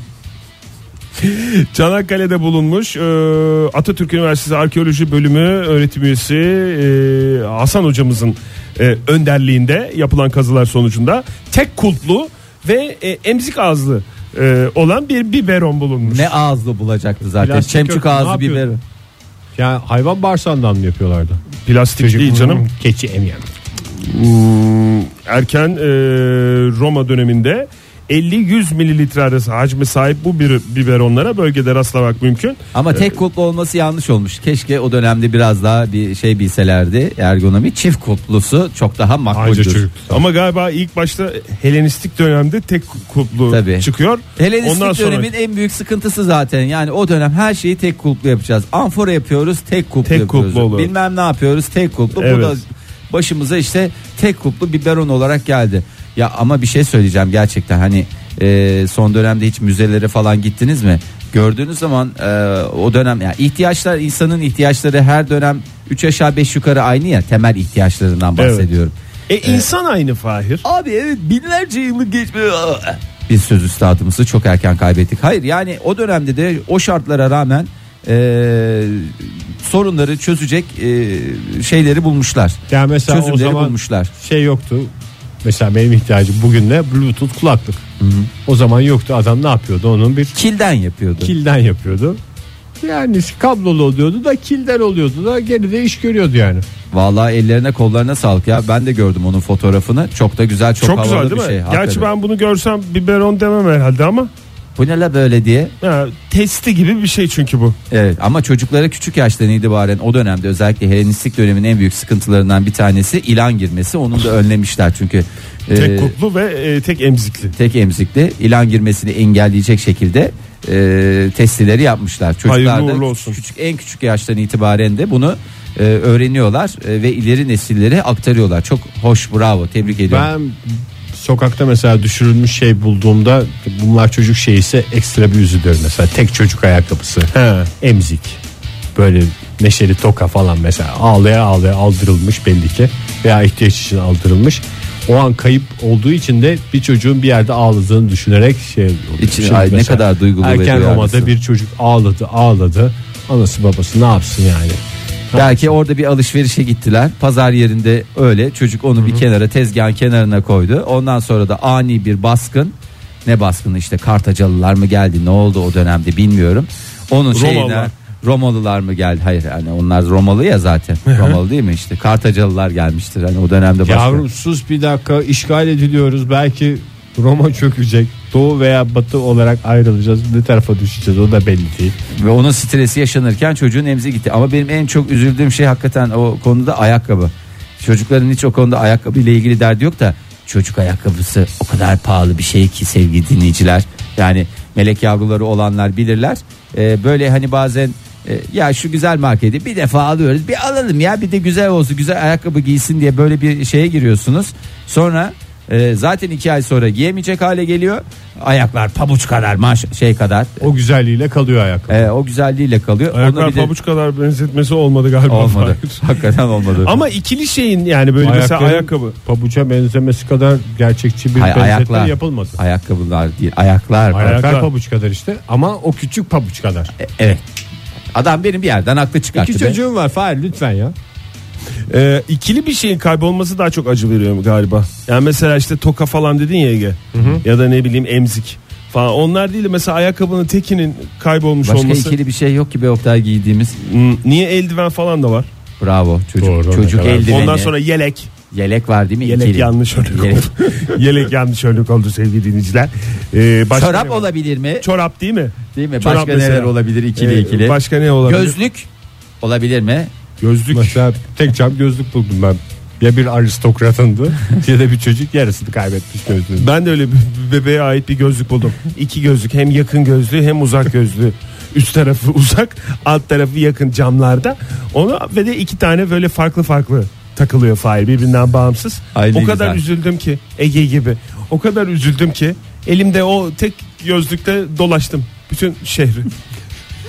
[SPEAKER 4] Çanakkale'de bulunmuş e, Atatürk Üniversitesi Arkeoloji Bölümü öğretim üyesi e, Hasan hocamızın e, önderliğinde yapılan kazılar sonucunda tek kulplu ve e, emzik ağızlı e, olan bir biberon bulunmuş.
[SPEAKER 5] ne ağızlı bulacaktı zaten.
[SPEAKER 3] Plastik
[SPEAKER 5] Çemçük
[SPEAKER 3] yok, ne
[SPEAKER 5] ağzı
[SPEAKER 3] yapıyordu?
[SPEAKER 5] biber.
[SPEAKER 3] Yani hayvan bağırsağından mı yapıyorlardı?
[SPEAKER 4] Plastik değil canım. E,
[SPEAKER 3] Keçi emyen.
[SPEAKER 4] Hmm, erken e, Roma döneminde 50-100 mililitre arası hacme sahip bu bir biberonlara bölgede rastlamak mümkün.
[SPEAKER 3] Ee.
[SPEAKER 5] Ama tek kulplu olması yanlış olmuş. Keşke o dönemde biraz daha bir şey bilselerdi ergonomi. Çift kulplusu çok daha
[SPEAKER 3] Ayrıca
[SPEAKER 5] makbuldür.
[SPEAKER 3] çocuk.
[SPEAKER 4] Ama galiba ilk başta Helenistik dönemde tek kulplu
[SPEAKER 5] Tabii.
[SPEAKER 4] çıkıyor.
[SPEAKER 5] Helenistik
[SPEAKER 4] Ondan sonra
[SPEAKER 5] dönemin en büyük sıkıntısı zaten. Yani o dönem her şeyi tek kulplu yapacağız. Amfora yapıyoruz, tek kulplu
[SPEAKER 4] Tek
[SPEAKER 5] yapıyoruz.
[SPEAKER 4] kulplu oluyor.
[SPEAKER 5] Bilmem ne yapıyoruz, tek kulplu. Bu
[SPEAKER 4] Evet.
[SPEAKER 5] da başımıza işte tek kulplu biberon olarak geldi. Ya ama bir şey söyleyeceğim gerçekten hani e, son dönemde hiç müzelere falan gittiniz mi? Gördüğünüz zaman e, o dönem ya ihtiyaçlar insanın ihtiyaçları her dönem 3 aşağı 5 yukarı aynı ya temel ihtiyaçlarından
[SPEAKER 4] Evet.
[SPEAKER 5] bahsediyorum.
[SPEAKER 4] E insan aynı Fahir.
[SPEAKER 5] Abi evet binlerce yıllık geçmiyor. Biz söz üstadımızı çok erken kaybettik. Hayır yani o dönemde de o şartlara rağmen eee, sorunları çözecek eee, şeyleri bulmuşlar.
[SPEAKER 3] Yani mesela o
[SPEAKER 5] Çözümleri
[SPEAKER 3] zaman
[SPEAKER 5] bulmuşlar.
[SPEAKER 3] şey yoktu. Mesela benim ihtiyacım bugün ne? Bluetooth kulaklık. O zaman yoktu. Adam ne yapıyordu? Onun bir
[SPEAKER 5] Kilden yapıyordu.
[SPEAKER 3] kilden yapıyordu. Yani kablolu oluyordu da kilden oluyordu da geride iş görüyordu yani.
[SPEAKER 5] Vallahi ellerine kollarına sağlık ya. Ben de gördüm onun fotoğrafını. Çok da güzel, çok,
[SPEAKER 4] Çok,
[SPEAKER 5] havalı
[SPEAKER 4] güzel değil
[SPEAKER 5] bir
[SPEAKER 4] mi?
[SPEAKER 5] şey.
[SPEAKER 4] Gerçi
[SPEAKER 5] hakikaten.
[SPEAKER 4] ben bunu görsem biberon demem herhalde ama
[SPEAKER 5] Bu ne la böyle diye.
[SPEAKER 4] ya, testi gibi bir şey çünkü bu.
[SPEAKER 5] Evet ama çocuklara küçük yaştan itibaren o dönemde özellikle Helenistik dönemin en büyük sıkıntılarından bir tanesi ilan girmesi. Onun da önlemişler çünkü. eee,
[SPEAKER 4] Tek kutlu ve e, tek emzikli.
[SPEAKER 5] tek emzikli ilan girmesini engelleyecek şekilde e, testileri yapmışlar. Çocuklar
[SPEAKER 4] Hayırlı uğurlu
[SPEAKER 5] da
[SPEAKER 4] olsun.
[SPEAKER 5] Küçük, en küçük yaştan itibaren de bunu e, öğreniyorlar e, ve ileri nesillere aktarıyorlar. Çok hoş bravo tebrik ediyorum.
[SPEAKER 3] Ben sokakta mesela düşürülmüş şey bulduğumda bunlar çocuk şeyi ise ekstra bir üzülüyorum mesela. Tek çocuk ayakkabısı. Emzik. Böyle neşeli toka falan mesela ağlaya ağlaya aldırılmış belli ki veya ihtiyaç için aldırılmış. O an kayıp olduğu için de bir çocuğun bir yerde ağladığını düşünerek şey oluyor.
[SPEAKER 5] İçin-
[SPEAKER 3] Şimdi
[SPEAKER 5] ay, ne
[SPEAKER 3] mesela
[SPEAKER 5] kadar duygulu ve
[SPEAKER 3] Erken
[SPEAKER 5] duyarlısın.
[SPEAKER 3] Roma'da bir çocuk ağladı ağladı. Anası babası ne yapsın yani?
[SPEAKER 5] Belki orada bir alışverişe gittiler. Pazar yerinde öyle çocuk onu bir kenara tezgahın kenarına koydu. Ondan sonra da ani bir baskın ne baskını işte Kartacalılar mı geldi ne oldu o dönemde bilmiyorum. Onun şeyine
[SPEAKER 4] Romalılar.
[SPEAKER 5] Romalılar mı geldi? Hayır hani onlar Romalı ya zaten. Romalı değil mi işte? Kartacalılar gelmiştir hani o dönemde başka.
[SPEAKER 3] Yavrum sus bir dakika işgal ediliyoruz belki Roma çökecek doğu veya batı olarak ayrılacağız ne tarafa düşeceğiz o da belli değil.
[SPEAKER 5] Ve onun stresi yaşanırken çocuğun emzi gitti. Ama benim en çok üzüldüğüm şey hakikaten o konuda ayakkabı. Çocukların hiç o konuda ayakkabı ile ilgili derdi yok da Çocuk ayakkabısı o kadar pahalı bir şey ki sevgili dinleyiciler. Yani melek yavruları olanlar bilirler. Ee, böyle hani bazen e, ya şu güzel marketi bir defa alıyoruz bir alalım ya bir de güzel olsun güzel ayakkabı giysin diye böyle bir şeye giriyorsunuz. Sonra e, zaten iki ay sonra giyemeyecek hale geliyor. Ayaklar pabuç kadar maş şey kadar
[SPEAKER 3] O güzelliğiyle kalıyor ayakkabı.
[SPEAKER 5] e, o güzelliğiyle kalıyor. Onu
[SPEAKER 4] Ayaklar
[SPEAKER 5] bir de-
[SPEAKER 4] pabuç kadar benzetmesi olmadı galiba.
[SPEAKER 5] olmadı.
[SPEAKER 4] Hayır.
[SPEAKER 5] Hakikaten olmadı.
[SPEAKER 4] Ama ikili şeyin yani böyle mesela
[SPEAKER 3] Ayakların
[SPEAKER 4] ayakkabı.
[SPEAKER 3] Pabuca benzemesi kadar gerçekçi bir
[SPEAKER 5] Hayır,
[SPEAKER 3] benzetme
[SPEAKER 5] ayaklar.
[SPEAKER 3] yapılmadı.
[SPEAKER 5] ayakkabılar değil ayaklar. var.
[SPEAKER 3] Ayaklar,
[SPEAKER 4] Ayaklar.
[SPEAKER 3] pabuç kadar işte ama o küçük pabuç kadar.
[SPEAKER 5] E, evet. Adam benim bir yerden aklı çıkarttı.
[SPEAKER 3] İki
[SPEAKER 5] be.
[SPEAKER 3] çocuğum var Fahir lütfen ya.
[SPEAKER 4] Ee, ikili bir şeyin kaybolması daha çok acı veriyor galiba. Yani mesela işte toka falan dedin ya Ege. Ya da ne bileyim emzik falan. Onlar değil de mesela ayakkabının tekinin kaybolmuş
[SPEAKER 5] Başka
[SPEAKER 4] olması.
[SPEAKER 5] ikili bir şey yok ki be Oktay giydiğimiz.
[SPEAKER 4] Hmm, Niye eldiven falan da var?
[SPEAKER 5] Bravo çocuk.
[SPEAKER 3] Doğru,
[SPEAKER 5] çocuk
[SPEAKER 3] ne kadar.
[SPEAKER 5] eldiveni.
[SPEAKER 4] Ondan sonra yelek.
[SPEAKER 5] yelek var değil mi?
[SPEAKER 4] Yelek
[SPEAKER 5] İkili.
[SPEAKER 4] yanlış örnek
[SPEAKER 5] Yelek.
[SPEAKER 4] oldu. yelek yanlış örnek oldu sevgili dinleyiciler. Ee, başka
[SPEAKER 5] Çorap
[SPEAKER 4] ne var?
[SPEAKER 5] olabilir mi?
[SPEAKER 4] Çorap değil mi?
[SPEAKER 5] Değil mi?
[SPEAKER 4] Çorap
[SPEAKER 5] Başka
[SPEAKER 4] mesela.
[SPEAKER 5] neler olabilir ikili
[SPEAKER 4] Ee,
[SPEAKER 5] ikili?
[SPEAKER 4] Başka ne olabilir?
[SPEAKER 5] Gözlük olabilir mi?
[SPEAKER 3] Gözlük. Mesela tek cam gözlük buldum ben. Ya bir aristokratındı ya da bir çocuk yarısını kaybetmiş gözlüğünü.
[SPEAKER 4] Ben de öyle bir bir bebeğe ait bir gözlük buldum. İki gözlük hem yakın gözlüğü hem uzak gözlüğü. Üst tarafı uzak, alt tarafı yakın camlarda. Onu ve de iki tane böyle farklı farklı takılıyor Fahir birbirinden bağımsız.
[SPEAKER 5] Ay ne
[SPEAKER 4] o kadar
[SPEAKER 5] güzel.
[SPEAKER 4] üzüldüm ki Ege gibi. O kadar üzüldüm ki elimde o tek gözlükte dolaştım bütün şehri.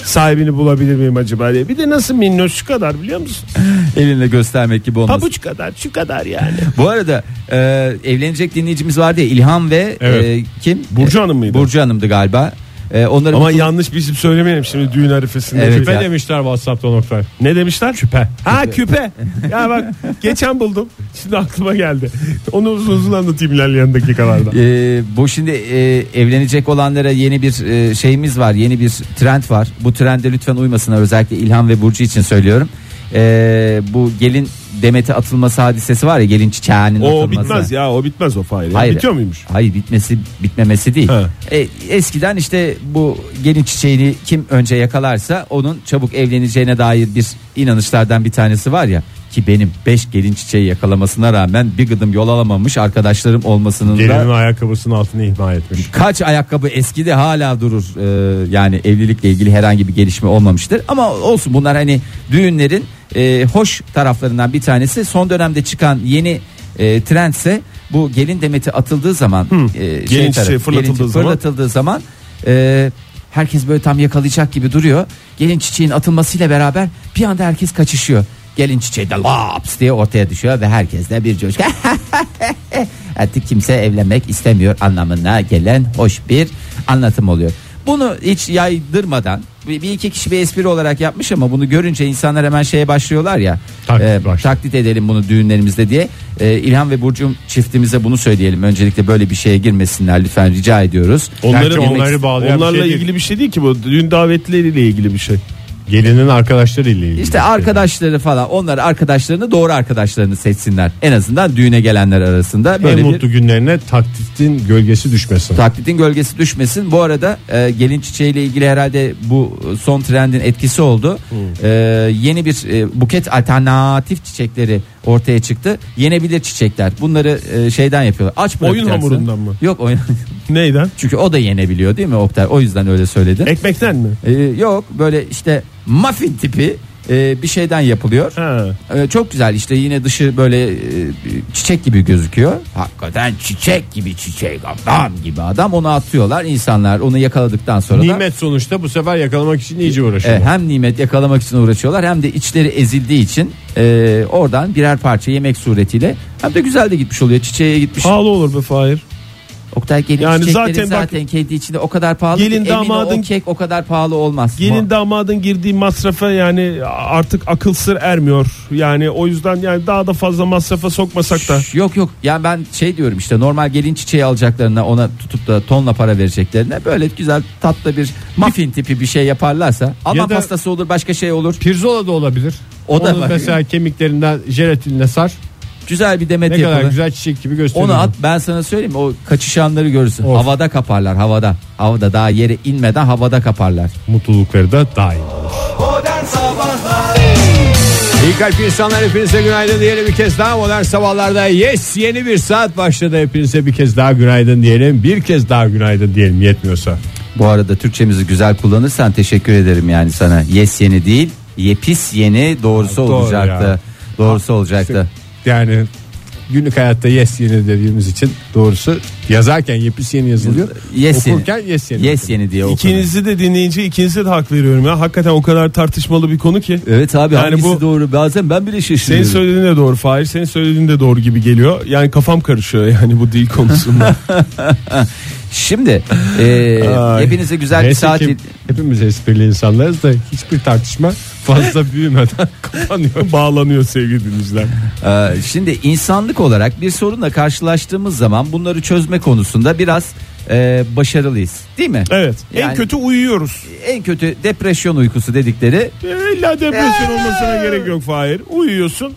[SPEAKER 4] Sahibini bulabilir miyim acaba diye. Bir de nasıl minnoş şu kadar biliyor musun?
[SPEAKER 5] Elinle göstermek gibi olmasın.
[SPEAKER 4] Pabuç kadar şu kadar yani.
[SPEAKER 5] Bu arada e, evlenecek dinleyicimiz vardı ya İlhan ve
[SPEAKER 4] Evet.
[SPEAKER 5] e, kim?
[SPEAKER 4] Burcu Hanım mıydı?
[SPEAKER 5] Burcu Hanım'dı galiba. E, onları
[SPEAKER 4] Ama
[SPEAKER 5] mutlu-
[SPEAKER 4] yanlış bir isim söylemeyelim şimdi düğün arifesinde.
[SPEAKER 5] Evet
[SPEAKER 4] Küpe
[SPEAKER 5] ya.
[SPEAKER 4] demişler WhatsApp'tan Oktay. Ne demişler? Küpe. Ha küpe. ya bak geçen buldum. Şimdi aklıma geldi. Onu uzun uzun anlatayım ilerleyen dakikalarda.
[SPEAKER 5] Ee, bu şimdi e, evlenecek olanlara yeni bir e, şeyimiz var yeni bir trend var bu trende lütfen uymasınlar özellikle İlhan ve Burcu için söylüyorum Ee, bu gelin demete atılması hadisesi var ya gelin çiçeğinin
[SPEAKER 4] o
[SPEAKER 5] atılması
[SPEAKER 4] bitmez ya o bitmez o fail.
[SPEAKER 5] Hayır.
[SPEAKER 4] Bitiyor muymuş?
[SPEAKER 5] Hayır bitmesi bitmemesi değil.
[SPEAKER 4] Ha.
[SPEAKER 5] E, eskiden işte bu gelin çiçeğini kim önce yakalarsa onun çabuk evleneceğine dair bir inanışlardan bir tanesi var ya ki benim 5 gelin çiçeği yakalamasına rağmen bir gıdım yol alamamış arkadaşlarım olmasının da
[SPEAKER 3] Gelinin ayakkabısının altını ihmal etmiş.
[SPEAKER 5] Kaç ayakkabı eskidi hala durur. Ee, yani evlilikle ilgili herhangi bir gelişme olmamıştır. Ama olsun bunlar hani düğünlerin e, hoş taraflarından bir tanesi. Son dönemde çıkan yeni e, trendse bu gelin demeti atıldığı zaman e,
[SPEAKER 4] Gelin çiçeği fırlatıldığı
[SPEAKER 5] gelin
[SPEAKER 4] zaman.
[SPEAKER 5] fırlatıldığı zaman e, herkes böyle tam yakalayacak gibi duruyor. Gelin çiçeğin atılmasıyla beraber bir anda herkes kaçışıyor. Gelin çiçeği de laps diye ortaya düşüyor ve herkes de bir coşku. Artık kimse evlenmek istemiyor anlamına gelen hoş bir anlatım oluyor. Bunu hiç yaydırmadan bir bir iki kişi bir espri olarak yapmış ama bunu görünce insanlar hemen şeye başlıyorlar ya. e,
[SPEAKER 3] Taklit başlıyor.
[SPEAKER 5] taklit edelim bunu düğünlerimizde diye. E, İlhan ve Burcu'm çiftimize bunu söyleyelim. Öncelikle böyle bir şeye girmesinler lütfen rica ediyoruz.
[SPEAKER 4] Onları,
[SPEAKER 3] Gerçi onları bağlayan bir
[SPEAKER 4] onlarla
[SPEAKER 3] şey değil.
[SPEAKER 4] ilgili bir şey değil ki bu. Düğün davetlileriyle ilgili bir şey.
[SPEAKER 3] Gelinin arkadaşlarıyla ilgili.
[SPEAKER 5] İşte arkadaşları falan onlar arkadaşlarını doğru arkadaşlarını seçsinler. En azından düğüne gelenler arasında böyle
[SPEAKER 3] en
[SPEAKER 5] bir
[SPEAKER 3] mutlu günlerine taklitin gölgesi düşmesin.
[SPEAKER 5] taklitin gölgesi düşmesin. Bu arada e, gelin çiçeğiyle ilgili herhalde bu e, son trendin etkisi oldu.
[SPEAKER 4] Hmm.
[SPEAKER 5] E, yeni bir e, buket alternatif çiçekleri ortaya çıktı. Yenebilir çiçekler. Bunları e, şeyden yapıyorlar. Aç
[SPEAKER 4] Oyun
[SPEAKER 5] bırakacaksın.
[SPEAKER 4] hamurundan mı?
[SPEAKER 5] Yok oyun.
[SPEAKER 4] Neyden?
[SPEAKER 5] Çünkü o da yenebiliyor değil mi Oktay? O yüzden öyle söyledim.
[SPEAKER 4] Ekmekten mi?
[SPEAKER 5] E, yok böyle işte muffin tipi e, bir şeyden yapılıyor.
[SPEAKER 4] Ha.
[SPEAKER 5] Ee, çok güzel işte yine dışı böyle e, çiçek gibi gözüküyor. Hakikaten çiçek gibi çiçek adam gibi adam onu atıyorlar insanlar onu yakaladıktan sonra da
[SPEAKER 3] Nimet sonuçta bu sefer yakalamak için iyice
[SPEAKER 5] e,
[SPEAKER 3] uğraşıyor.
[SPEAKER 5] hem nimet yakalamak için uğraşıyorlar hem de içleri ezildiği için e, oradan birer parça yemek suretiyle hem de güzel de gitmiş oluyor çiçeğe gitmiş.
[SPEAKER 4] Pahalı olur be Fahir.
[SPEAKER 5] Oktay gelin
[SPEAKER 4] Yani
[SPEAKER 5] çiçekleri zaten,
[SPEAKER 4] zaten bak-
[SPEAKER 5] kendi içinde o kadar pahalı
[SPEAKER 4] Gelin
[SPEAKER 5] ki damadın,
[SPEAKER 4] damadın-
[SPEAKER 5] o kek o kadar pahalı olmaz.
[SPEAKER 4] Gelin damadın girdiği masrafa yani artık akıl sır ermiyor. Yani o yüzden yani daha da fazla masrafa sokmasak da.
[SPEAKER 5] Şş, Yok yok yani ben şey diyorum işte normal gelin çiçeği alacaklarına ona tutup da tonla para vereceklerine böyle güzel tatlı bir muffin tipi bir şey yaparlarsa Alman
[SPEAKER 3] da-
[SPEAKER 5] pastası olur başka şey olur
[SPEAKER 3] Pirzola da olabilir.
[SPEAKER 5] O da
[SPEAKER 3] Onu
[SPEAKER 5] var.
[SPEAKER 3] mesela kemiklerinden jelatinle sar.
[SPEAKER 5] güzel bir
[SPEAKER 3] Ne
[SPEAKER 5] demet
[SPEAKER 3] kadar
[SPEAKER 5] yapılır.
[SPEAKER 3] güzel çiçek gibi gösteriyor.
[SPEAKER 5] Onu at ben sana söyleyeyim o kaçışanları görürsün
[SPEAKER 3] Of.
[SPEAKER 5] havada kaparlar havada havada daha yere inmeden havada kaparlar.
[SPEAKER 3] Mutlulukları da daim.
[SPEAKER 2] Modern Sabahlar
[SPEAKER 3] İyi kalp insanlar hepinize günaydın diyelim bir kez daha modern sabahlarda yes yeni bir saat başladı hepinize bir kez daha günaydın diyelim bir kez daha günaydın diyelim yetmiyorsa.
[SPEAKER 5] Bu arada Türkçemizi güzel kullanırsan teşekkür ederim yani sana. Yes yeni değil, yepis yeni doğrusu
[SPEAKER 3] doğru
[SPEAKER 5] olacaktı.
[SPEAKER 3] ya.
[SPEAKER 5] Doğrusu olacaktı.
[SPEAKER 3] Yani günlük hayatta yes yeni dediğimiz için doğrusu yazarken yepis yeni yazılıyor.
[SPEAKER 5] Yes yeni.
[SPEAKER 3] Okurken yes yeni.
[SPEAKER 5] Yes yeni diye okudum.
[SPEAKER 4] İkinizi de dinleyince ikinize de hak veriyorum ya. Hakikaten o kadar tartışmalı bir konu ki.
[SPEAKER 5] Evet abi
[SPEAKER 4] Yani
[SPEAKER 5] hangisi
[SPEAKER 4] bu-
[SPEAKER 5] doğru bazen ben bile
[SPEAKER 4] Senin
[SPEAKER 5] şaşırıyorum.
[SPEAKER 4] söylediğin de doğru Fahir. Senin söylediğin de doğru gibi geliyor. Yani kafam karışıyor yani bu dil konusunda.
[SPEAKER 5] Şimdi e, hepinize güzel bir
[SPEAKER 3] Neyse
[SPEAKER 5] saat...
[SPEAKER 3] ki hepimiz esprili insanlarız da hiçbir tartışma fazla büyümeden kapanıyor.
[SPEAKER 4] Bağlanıyor sevgili dinleyiciler.
[SPEAKER 5] Ee, Şimdi insanlık olarak bir sorunla karşılaştığımız zaman bunları çözme konusunda biraz e, başarılıyız değil mi?
[SPEAKER 4] Evet. en
[SPEAKER 5] Yani-
[SPEAKER 4] kötü uyuyoruz.
[SPEAKER 5] En kötü depresyon uykusu dedikleri
[SPEAKER 4] E, İlla depresyon olmasına gerek yok Fahir. Uyuyorsun.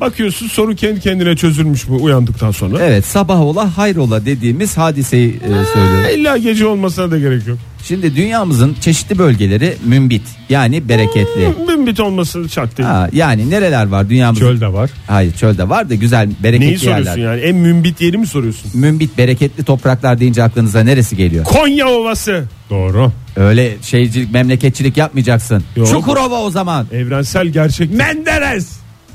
[SPEAKER 4] Bakıyorsun soru kendi kendine çözülmüş mü uyandıktan sonra.
[SPEAKER 5] evet sabah ola hayrola dediğimiz hadiseyi e, söylüyorum.
[SPEAKER 4] E, İlla gece olmasına da gerek yok.
[SPEAKER 5] Şimdi dünyamızın çeşitli bölgeleri mümbit yani bereketli.
[SPEAKER 4] Bimbit olmasını şart değil.
[SPEAKER 5] Ha, yani nereler var dünyamızın?
[SPEAKER 3] Çöl de var.
[SPEAKER 5] Hayır çölde var da güzel bereketli
[SPEAKER 4] Neyi soruyorsun
[SPEAKER 5] yerler.
[SPEAKER 4] yani? En mümbit yeri mi soruyorsun?
[SPEAKER 5] Mümbit bereketli topraklar deyince aklınıza neresi geliyor?
[SPEAKER 4] Konya Ovası.
[SPEAKER 3] Doğru.
[SPEAKER 5] Öyle şeycilik memleketçilik yapmayacaksın. Çukurova o zaman.
[SPEAKER 4] Evrensel gerçek. Menderes.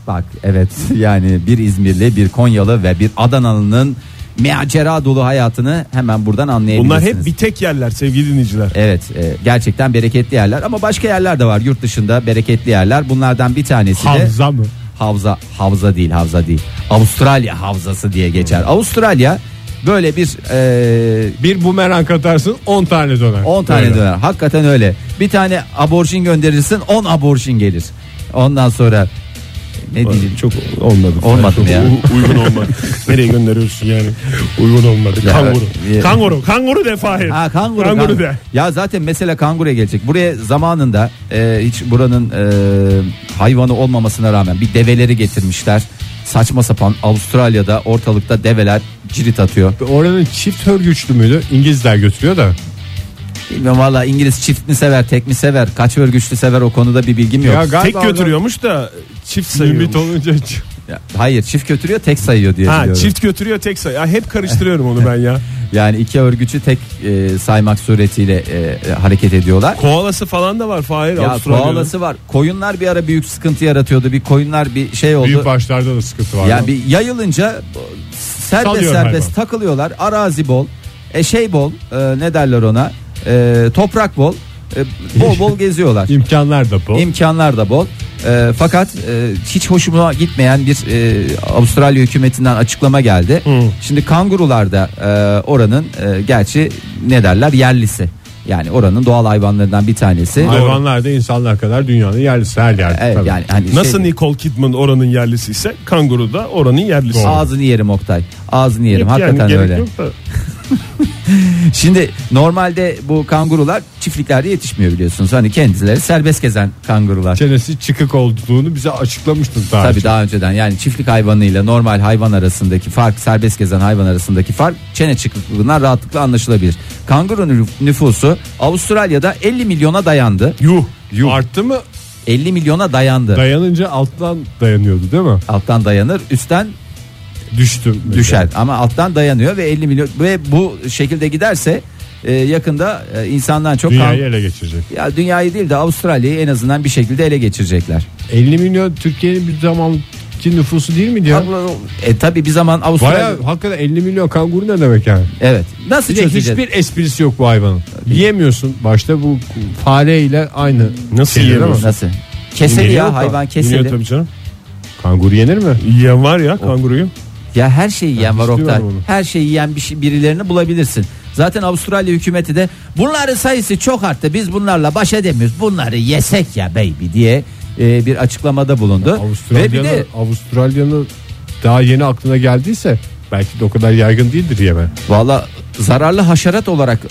[SPEAKER 5] Bak evet yani bir İzmirli, bir Konyalı ve bir Adanalı'nın macera dolu hayatını hemen buradan
[SPEAKER 4] Bunlar
[SPEAKER 5] anlayabilirsiniz.
[SPEAKER 4] hep bir tek yerler sevgili dinleyiciler.
[SPEAKER 5] Evet e, gerçekten bereketli yerler ama başka yerler de var yurt dışında bereketli yerler. Bunlardan bir tanesi de
[SPEAKER 3] Hamza mı?
[SPEAKER 5] havza havza değil havza değil. Avustralya havzası diye geçer. Avustralya böyle bir e,
[SPEAKER 3] Bir bumerang atarsın 10 tane döner.
[SPEAKER 5] 10 tane
[SPEAKER 3] Böyle.
[SPEAKER 5] döner. Hakikaten öyle. Bir tane aborjin gönderirsin 10 aborjin gelir. Ondan sonra ne diyeyim
[SPEAKER 4] Çok olmadı.
[SPEAKER 5] Olmadı
[SPEAKER 4] Çok
[SPEAKER 5] mı ya?
[SPEAKER 4] u- uygun olmadı. Nereye gönderiyorsun yani? Uygun olmadı.
[SPEAKER 5] Ya,
[SPEAKER 4] kanguru.
[SPEAKER 5] ya.
[SPEAKER 4] Kanguru. Kanguru de Fahir.
[SPEAKER 5] Ha kanguru.
[SPEAKER 4] Kanguru
[SPEAKER 5] kanguru.
[SPEAKER 4] de.
[SPEAKER 5] Ya zaten mesele kanguruya gelecek. Buraya zamanında e, hiç buranın e, hayvanı olmamasına rağmen bir develeri getirmişler. Saçma sapan Avustralya'da ortalıkta develer cirit atıyor.
[SPEAKER 3] Oranın çift örgüçlü müydü? İngilizler götürüyor da.
[SPEAKER 5] Bilmiyorum valla İngiliz çift mi sever tek mi sever kaç örgüçlü sever o konuda bir bilgim yok.
[SPEAKER 3] Ya galiba
[SPEAKER 4] Tek götürüyormuş da çift sayıyormuş.
[SPEAKER 3] Limit olunca ç-
[SPEAKER 5] Ya, Hayır çift götürüyor tek sayıyor diye
[SPEAKER 4] Ha
[SPEAKER 5] biliyorum.
[SPEAKER 4] çift götürüyor tek say. Ya hep karıştırıyorum onu ben ya.
[SPEAKER 5] Yani iki örgücü tek e, saymak suretiyle e, e, hareket ediyorlar.
[SPEAKER 4] Koalası falan da var Fahir
[SPEAKER 5] Ya
[SPEAKER 4] Avustralya'nın.
[SPEAKER 5] koalası var. Koyunlar bir ara büyük sıkıntı yaratıyordu. Bir koyunlar bir şey oldu.
[SPEAKER 3] büyük başlarda da sıkıntı var.
[SPEAKER 5] Ya bir yayılınca e, serbest
[SPEAKER 3] Salıyor
[SPEAKER 5] serbest
[SPEAKER 3] hayvan.
[SPEAKER 5] takılıyorlar. Arazi bol, e şey bol, e, ne derler ona? E, toprak bol, e, bol bol geziyorlar.
[SPEAKER 3] İmkanlar da bu.
[SPEAKER 5] İmkanlar da bol. E, fakat e, hiç hoşuma gitmeyen bir e, Avustralya hükümetinden açıklama geldi. Şimdi kangurular da e, oranın e, gerçi ne derler yerlisi. Yani oranın doğal hayvanlarından bir tanesi.
[SPEAKER 3] Hayvanlar da insanlar kadar dünyanın yerlisi her yerde.
[SPEAKER 5] Evet,
[SPEAKER 3] tabii.
[SPEAKER 5] yani hani
[SPEAKER 4] Nasıl
[SPEAKER 5] şey-
[SPEAKER 4] Nicole Kidman oranın yerlisi ise kanguru da oranın yerlisi.
[SPEAKER 5] Ağzını yerim Oktay. Ağzını yerim.
[SPEAKER 4] Yani
[SPEAKER 5] Hakikaten
[SPEAKER 4] gerek
[SPEAKER 5] öyle.
[SPEAKER 4] yok da.
[SPEAKER 5] Şimdi normalde bu kangurular çiftliklerde yetişmiyor biliyorsunuz. Hani kendileri serbest gezen kangurular.
[SPEAKER 3] Çenesi çıkık olduğunu bize açıklamıştınız daha
[SPEAKER 5] Tabii
[SPEAKER 3] önce.
[SPEAKER 5] daha önceden yani çiftlik hayvanıyla normal hayvan arasındaki fark serbest gezen hayvan arasındaki fark çene çıkıklığından rahatlıkla anlaşılabilir. Kanguru nüf- nüfusu Avustralya'da 50 milyona dayandı.
[SPEAKER 3] Yuh. Arttı mı
[SPEAKER 5] 50 milyona dayandı.
[SPEAKER 3] dayanınca alttan dayanıyordu değil mi?
[SPEAKER 5] alttan dayanır üstten
[SPEAKER 3] Düştüm.
[SPEAKER 5] düşer ama alttan dayanıyor ve 50 milyon ve bu şekilde giderse e, yakında e, insandan çok kang-
[SPEAKER 3] Dünyayı ele geçirecek.
[SPEAKER 5] Ya dünyayı değil de Avustralya'yı en azından bir şekilde ele geçirecekler.
[SPEAKER 3] 50 milyon Türkiye'nin bir zamanki nüfusu değil mi diyor?
[SPEAKER 5] E tabi bir zaman Avustralya
[SPEAKER 3] Baya hakikaten 50 milyon kanguru ne demek yani?
[SPEAKER 5] evet nasıl
[SPEAKER 3] Hiç,
[SPEAKER 5] çözeceğiz?
[SPEAKER 3] hiçbir esprisi yok bu hayvanın. Yiyemiyorsun. Başta bu fareyle aynı.
[SPEAKER 4] Nasıl
[SPEAKER 3] şeyler
[SPEAKER 4] yiyemiyorsun?
[SPEAKER 3] ama.
[SPEAKER 5] Nasıl? Keseli
[SPEAKER 4] Yeniyor
[SPEAKER 5] ya
[SPEAKER 4] da.
[SPEAKER 5] hayvan
[SPEAKER 4] Yeniyor
[SPEAKER 5] keseli.
[SPEAKER 4] tabii canım.
[SPEAKER 3] Kanguru yenir mi?
[SPEAKER 4] Yiyen var ya kanguruyu.
[SPEAKER 5] Ya her şeyi yiyen var
[SPEAKER 3] istiyorum
[SPEAKER 5] Oktay.
[SPEAKER 3] onu.
[SPEAKER 5] Her şeyi yiyen bir şey, birilerini bulabilirsin. Zaten Avustralya hükümeti de bunların sayısı çok arttı. Biz bunlarla baş edemiyoruz. Bunları yesek ya baby diye e, bir açıklamada bulundu. Ve bir
[SPEAKER 3] Avustralya'nın
[SPEAKER 5] de
[SPEAKER 3] Avustralya'nın daha yeni aklına geldiyse belki de o kadar yaygın değildir yeme.
[SPEAKER 5] Valla zararlı haşerat olarak e,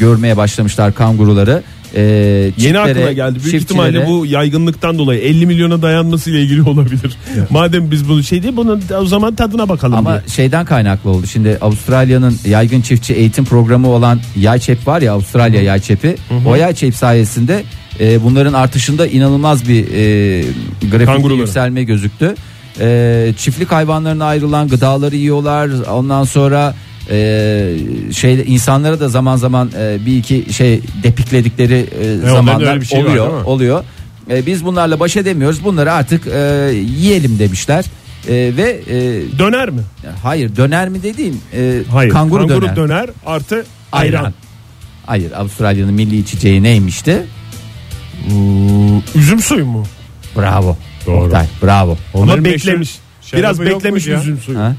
[SPEAKER 5] görmeye başlamışlar kanguruları. e,
[SPEAKER 4] Yeni
[SPEAKER 5] çiftlere,
[SPEAKER 4] aklıma geldi. Büyük ihtimalle
[SPEAKER 5] çiftçilere-
[SPEAKER 4] bu yaygınlıktan dolayı 50 milyona dayanması ile ilgili olabilir. Madem biz bunu şey değil bunun o zaman tadına bakalım
[SPEAKER 5] Ama
[SPEAKER 4] diye.
[SPEAKER 5] şeyden kaynaklı oldu. Şimdi Avustralya'nın yaygın çiftçi eğitim programı olan yay çep var ya Avustralya yay çepi. O yay çep sayesinde e, bunların artışında inanılmaz bir e, grafik
[SPEAKER 4] Kanguruların.
[SPEAKER 5] yükselme gözüktü. E, çiftlik hayvanlarına ayrılan gıdaları yiyorlar. Ondan sonra e, şey insanlara da zaman zaman e, bir iki şey depikledikleri e,
[SPEAKER 4] onların
[SPEAKER 5] zamanlar
[SPEAKER 4] öyle bir şeyi var,
[SPEAKER 5] oluyor
[SPEAKER 4] değil mi?
[SPEAKER 5] oluyor. E, biz bunlarla baş edemiyoruz. Bunları artık e, yiyelim demişler. E, ve e,
[SPEAKER 4] Döner mi?
[SPEAKER 5] Hayır döner mi dediğim e,
[SPEAKER 4] Hayır.
[SPEAKER 5] kanguru, döner.
[SPEAKER 4] artı
[SPEAKER 5] Ayran.
[SPEAKER 4] ayran.
[SPEAKER 5] Hayır Avustralya'nın milli içeceği neymişti?
[SPEAKER 4] Üzüm suyu mu?
[SPEAKER 5] Bravo.
[SPEAKER 3] Doğru.
[SPEAKER 5] Oktay, bravo.
[SPEAKER 4] Ama
[SPEAKER 3] Onların meşhur
[SPEAKER 4] beklemiş.
[SPEAKER 3] şarabı
[SPEAKER 4] Biraz
[SPEAKER 3] yok
[SPEAKER 4] beklemiş
[SPEAKER 3] muydu ya?
[SPEAKER 4] üzüm suyu.
[SPEAKER 5] Ha?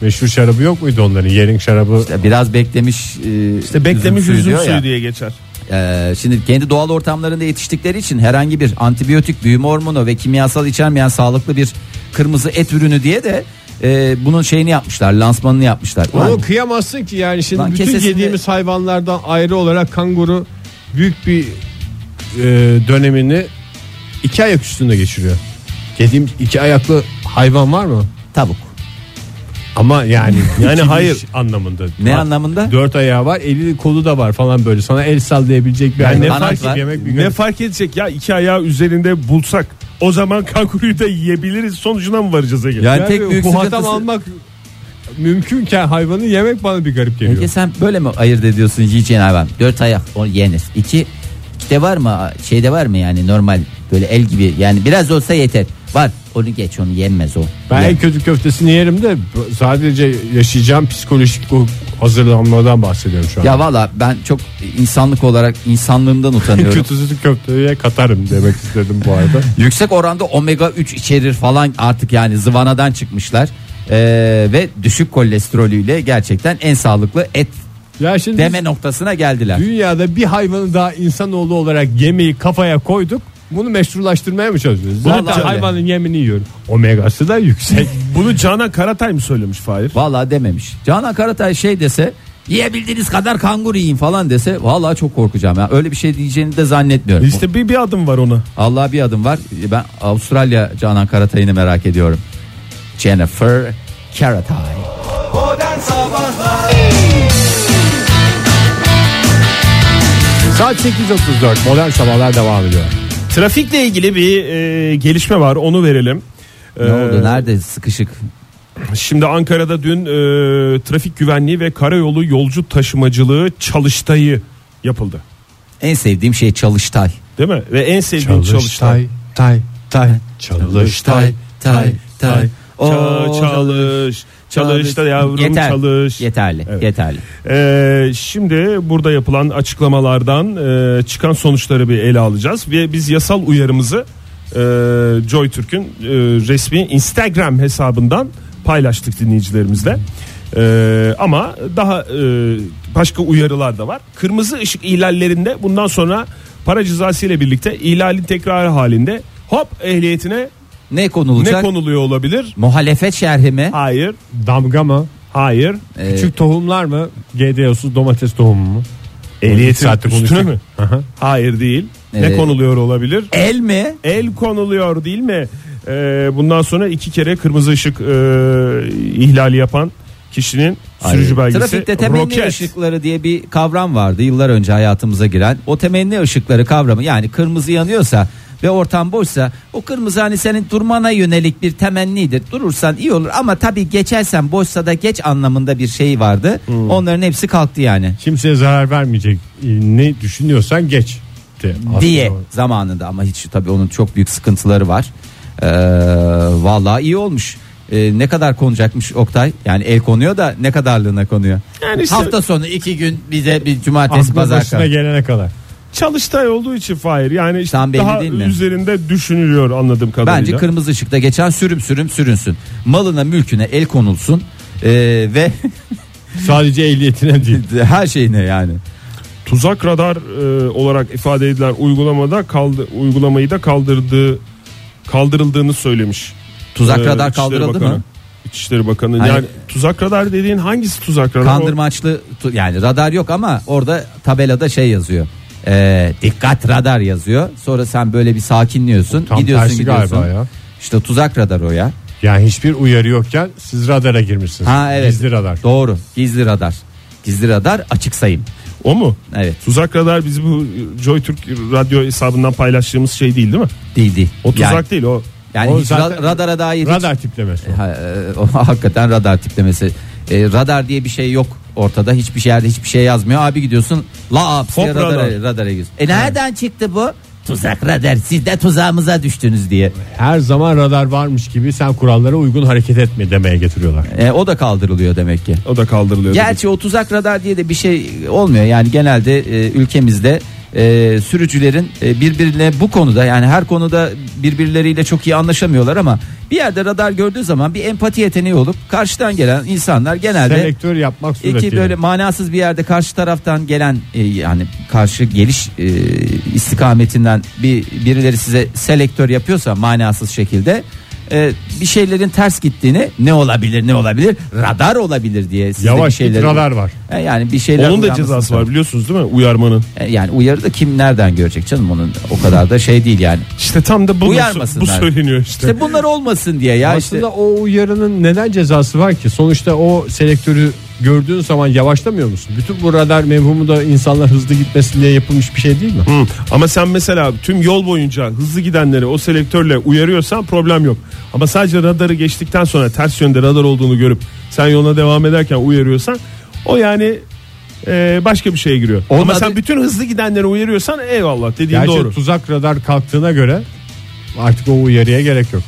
[SPEAKER 3] Meşhur şarabı yok muydu onların? Yering şarabı.
[SPEAKER 5] Ya Biraz beklemiş e,
[SPEAKER 4] İşte beklemiş üzüm,
[SPEAKER 5] diyor
[SPEAKER 4] suyu
[SPEAKER 5] ya.
[SPEAKER 4] diye geçer.
[SPEAKER 5] E, şimdi kendi doğal ortamlarında yetiştikleri için herhangi bir antibiyotik, büyüme hormonu ve kimyasal içermeyen sağlıklı bir kırmızı et ürünü diye de e, bunun şeyini yapmışlar, lansmanını yapmışlar.
[SPEAKER 3] Onu
[SPEAKER 5] Ulan,
[SPEAKER 3] kıyamazsın ki yani şimdi
[SPEAKER 5] Lan
[SPEAKER 3] bütün
[SPEAKER 5] kesesinde-
[SPEAKER 3] yediğimiz hayvanlardan ayrı olarak kanguru büyük bir e, dönemini iki ayak üstünde geçiriyor. Yediğim iki ayaklı hayvan var mı?
[SPEAKER 5] tavuk.
[SPEAKER 3] Ama yani
[SPEAKER 4] Yani
[SPEAKER 3] ikili
[SPEAKER 4] hayır.
[SPEAKER 3] anlamında.
[SPEAKER 5] Ne anlamında?
[SPEAKER 3] Dört ayağı var, eli kolu da var falan böyle. Sana el sallayabilecek bir
[SPEAKER 4] Yani
[SPEAKER 3] hayvan.
[SPEAKER 4] ne
[SPEAKER 5] Kanat
[SPEAKER 4] fark
[SPEAKER 5] var.
[SPEAKER 3] yemek bir
[SPEAKER 4] Ne fark edecek ya iki ayağı üzerinde bulsak o zaman kanguruyu da yiyebiliriz sonucuna mı varacağız Ege?
[SPEAKER 5] Yani tek büyük
[SPEAKER 3] bu adam
[SPEAKER 5] sıkıntısı-
[SPEAKER 3] almak mümkünken hayvanı yemek bana bir garip geliyor.
[SPEAKER 5] Ege sen böyle mi ayırt ediyorsun yiyeceğin hayvan? Dört ayak o yenir. İki, iki de var mı? Şeyde var mı yani normal böyle el gibi yani biraz olsa yeter. Var onu geç onu yenmez o.
[SPEAKER 3] Ben en
[SPEAKER 5] Yen-
[SPEAKER 3] kötü köftesini yerim de sadece yaşayacağım psikolojik o hazırlanmadan bahsediyorum şu an.
[SPEAKER 5] Ya valla ben çok insanlık olarak insanlığımdan utanıyorum.
[SPEAKER 3] Kötüsü köfteye katarım demek istedim bu arada.
[SPEAKER 5] Yüksek oranda omega 3 içerir falan artık yani zıvanadan çıkmışlar. Ee, ve düşük kolesterolüyle gerçekten en sağlıklı et
[SPEAKER 3] Ya şimdi
[SPEAKER 5] deme noktasına geldiler.
[SPEAKER 3] dünyada bir hayvanı daha insanoğlu olarak yemeği kafaya koyduk. Bunu meşrulaştırmaya mı çalışıyoruz?
[SPEAKER 5] Vallahi
[SPEAKER 3] Zaten
[SPEAKER 5] öyle.
[SPEAKER 3] hayvanın yemini yiyorum. Omegası da yüksek.
[SPEAKER 4] Bunu Canan Karatay mı söylemiş Fahir?
[SPEAKER 5] Valla dememiş. Canan Karatay şey dese yiyebildiğiniz kadar kanguru yiyin falan dese valla çok korkacağım. ya. Öyle bir şey diyeceğini de zannetmiyorum.
[SPEAKER 4] İşte bir, bir adım var ona.
[SPEAKER 5] Allah bir adım var. Ben Avustralya Canan Karatay'ını merak ediyorum. Jennifer Karatay.
[SPEAKER 2] Modern Sabahlar
[SPEAKER 3] Saat 8.34 modern sabahlar devam ediyor.
[SPEAKER 4] Trafikle ilgili bir e, gelişme var onu verelim.
[SPEAKER 5] Ne
[SPEAKER 4] Ee,
[SPEAKER 5] oldu? Nerede sıkışık?
[SPEAKER 4] Şimdi Ankara'da dün e, trafik güvenliği ve karayolu yolcu taşımacılığı çalıştayı yapıldı.
[SPEAKER 5] En sevdiğim şey Çalıştay.
[SPEAKER 4] Değil mi? Ve en sevdiğim çalıştay.
[SPEAKER 3] tay, tay, çalıştay, tay, tay.
[SPEAKER 5] O
[SPEAKER 4] Ça- çalış, çalıştay yavrum
[SPEAKER 5] Yeter,
[SPEAKER 4] çalış.
[SPEAKER 5] Yeterli,
[SPEAKER 4] Evet.
[SPEAKER 5] yeterli.
[SPEAKER 4] Ee, şimdi burada yapılan açıklamalardan e, çıkan sonuçları bir ele alacağız ve biz yasal uyarımızı e, Joy Türk'ün e, resmi Instagram hesabından paylaştık dinleyicilerimizle. E, ama daha e, başka uyarılar da var. Kırmızı ışık ihlallerinde bundan sonra para cezası ile birlikte ihlalin tekrarı halinde hop ehliyetine
[SPEAKER 5] Ne konulacak?
[SPEAKER 4] ne konuluyor olabilir?
[SPEAKER 5] Muhalefet şerhi mi?
[SPEAKER 4] Hayır,
[SPEAKER 3] Damga mı?
[SPEAKER 4] hayır.
[SPEAKER 5] Ee,
[SPEAKER 3] Küçük tohumlar mı? GDO'suz domates tohumu mu?
[SPEAKER 4] Ehliyetin
[SPEAKER 3] Saattir
[SPEAKER 4] üstüne
[SPEAKER 3] konuştuk.
[SPEAKER 4] mi?
[SPEAKER 3] Aha.
[SPEAKER 4] Hayır değil.
[SPEAKER 5] Evet.
[SPEAKER 4] Ne konuluyor olabilir?
[SPEAKER 5] El mi?
[SPEAKER 4] El konuluyor değil mi? Ee, bundan sonra iki kere kırmızı ışık e, ihlali yapan kişinin sürücü
[SPEAKER 5] Hayır.
[SPEAKER 4] belgesi
[SPEAKER 5] Trafikte temenni
[SPEAKER 4] roket.
[SPEAKER 5] ışıkları diye bir kavram vardı yıllar önce hayatımıza giren. O temenni ışıkları kavramı yani kırmızı yanıyorsa ve ortam boşsa o kırmızı hani senin durmana yönelik bir temennidir. Durursan iyi olur ama tabii geçersen boşsa da geç anlamında bir şey vardı. Onların hepsi kalktı yani.
[SPEAKER 3] Kimseye zarar vermeyecek. Ee, Ne düşünüyorsan geç. De. Aslında
[SPEAKER 5] diye
[SPEAKER 3] o-
[SPEAKER 5] zamanında ama hiç tabii onun çok büyük sıkıntıları var. Ee, vallahi iyi olmuş. Ee, ne kadar konacakmış Oktay? Yani el konuyor da ne kadarlığına konuyor?
[SPEAKER 4] Yani işte-
[SPEAKER 5] Hafta sonu iki gün bize bir cumartesi
[SPEAKER 3] Aklı
[SPEAKER 5] pazar
[SPEAKER 3] başına
[SPEAKER 5] kal-
[SPEAKER 3] gelene kadar.
[SPEAKER 4] Çalıştay olduğu için Fahir yani işte
[SPEAKER 5] Tam belli
[SPEAKER 4] daha
[SPEAKER 5] değil mi?
[SPEAKER 4] üzerinde düşünülüyor anladığım kadarıyla.
[SPEAKER 5] Bence kırmızı ışıkta geçen sürüm sürüm sürünsün. Malına mülküne el konulsun Ee, ve
[SPEAKER 3] Sadece ehliyetine değil.
[SPEAKER 5] her şeyine yani.
[SPEAKER 4] Tuzak radar e, olarak ifade edilen uygulamada kaldı, uygulamayı da kaldırdığı kaldırıldığını söylemiş.
[SPEAKER 5] Tuzak
[SPEAKER 4] Ee,
[SPEAKER 5] radar
[SPEAKER 4] İçişleri
[SPEAKER 5] kaldırıldı
[SPEAKER 4] Bakanı.
[SPEAKER 5] mı?
[SPEAKER 4] İçişleri Bakanı.
[SPEAKER 5] Hayır.
[SPEAKER 4] Yani tuzak radar dediğin hangisi tuzak radar? O-
[SPEAKER 5] Kandırmaçlı tu- yani radar yok ama orada tabelada şey yazıyor. e, dikkat radar yazıyor. Sonra sen böyle bir sakinliyorsun.
[SPEAKER 3] tam
[SPEAKER 5] gidiyorsun
[SPEAKER 3] tersi galiba
[SPEAKER 5] gidiyorsun.
[SPEAKER 3] ya.
[SPEAKER 5] İşte tuzak radar o ya.
[SPEAKER 3] Yani hiçbir uyarı yokken siz radara girmişsiniz.
[SPEAKER 5] Ha evet.
[SPEAKER 3] Gizli radar.
[SPEAKER 5] Doğru. Gizli radar. Gizli radar açık sayım.
[SPEAKER 4] O mu?
[SPEAKER 5] Evet.
[SPEAKER 4] Tuzak radar biz bu Joy Türk radyo hesabından paylaştığımız şey değil değil mi?
[SPEAKER 5] Değil değil.
[SPEAKER 4] O tuzak
[SPEAKER 5] Yani,
[SPEAKER 4] değil o.
[SPEAKER 5] yani
[SPEAKER 3] O
[SPEAKER 5] hiç
[SPEAKER 3] zaten-
[SPEAKER 5] ra- radara dair hiç
[SPEAKER 3] Radar tiplemesi.
[SPEAKER 5] Ha, e, o hakikaten radar tiplemesi. E, radar diye bir şey yok ortada. Hiçbir şey yerde hiçbir şey yazmıyor. Abi gidiyorsun la aps diye
[SPEAKER 4] Hop
[SPEAKER 5] radara, radara
[SPEAKER 4] radar.
[SPEAKER 5] giriyorsun. E nereden çıktı bu? Tuzak radar. Siz de tuzağımıza düştünüz diye.
[SPEAKER 3] Her zaman radar varmış gibi sen kurallara uygun hareket etme demeye getiriyorlar.
[SPEAKER 5] E, o da kaldırılıyor demek ki.
[SPEAKER 4] O da kaldırılıyor.
[SPEAKER 5] Gerçi o tuzak radar diye de bir şey olmuyor. Yani genelde e, ülkemizde e, sürücülerin e, birbirine bu konuda yani her konuda birbirleriyle çok iyi anlaşamıyorlar ama bir yerde radar gördüğü zaman bir empati yeteneği olup karşıdan gelen insanlar genelde
[SPEAKER 3] Selektör yapmak suretiyle.
[SPEAKER 5] İki böyle manasız bir yerde karşı taraftan gelen e, yani karşı geliş e, istikametinden bir birileri size selektör yapıyorsa manasız şekilde e, bir şeylerin ters gittiğini ne olabilir ne olabilir radar olabilir diye sizde
[SPEAKER 3] Yavaş
[SPEAKER 5] bir şeyler
[SPEAKER 3] git radar var.
[SPEAKER 5] E, yani bir şeyler
[SPEAKER 4] Onun da
[SPEAKER 5] uyanmasını
[SPEAKER 4] cezası var
[SPEAKER 5] isterim.
[SPEAKER 4] biliyorsunuz değil mi? Uyarmanın.
[SPEAKER 5] E, yani uyarı da kim nereden görecek canım onun o kadar da şey değil yani
[SPEAKER 4] İşte tam da bu, bu
[SPEAKER 5] Uyarmasınlar.
[SPEAKER 4] söyleniyor işte.
[SPEAKER 5] İşte bunlar olmasın diye ya işte
[SPEAKER 3] Aslında o uyarının neden cezası var ki? Sonuçta o selektörü gördüğün zaman yavaşlamıyor musun? Bütün bu radar mevhumu da insanlar hızlı gitmesin diye yapılmış bir şey değil mi?
[SPEAKER 4] Hı. Ama sen mesela tüm yol boyunca hızlı gidenleri o selektörle uyarıyorsan problem yok. Ama sadece radarı geçtikten sonra ters yönde radar olduğunu görüp sen yoluna devam ederken uyarıyorsan o yani e, başka bir şeye giriyor.
[SPEAKER 5] Onun
[SPEAKER 4] Ama
[SPEAKER 5] adı-
[SPEAKER 4] sen bütün hızlı gidenleri uyarıyorsan eyvallah dediğin
[SPEAKER 3] Gerçi
[SPEAKER 4] doğru.
[SPEAKER 3] tuzak radar kalktığına göre artık o uyarıya gerek yok.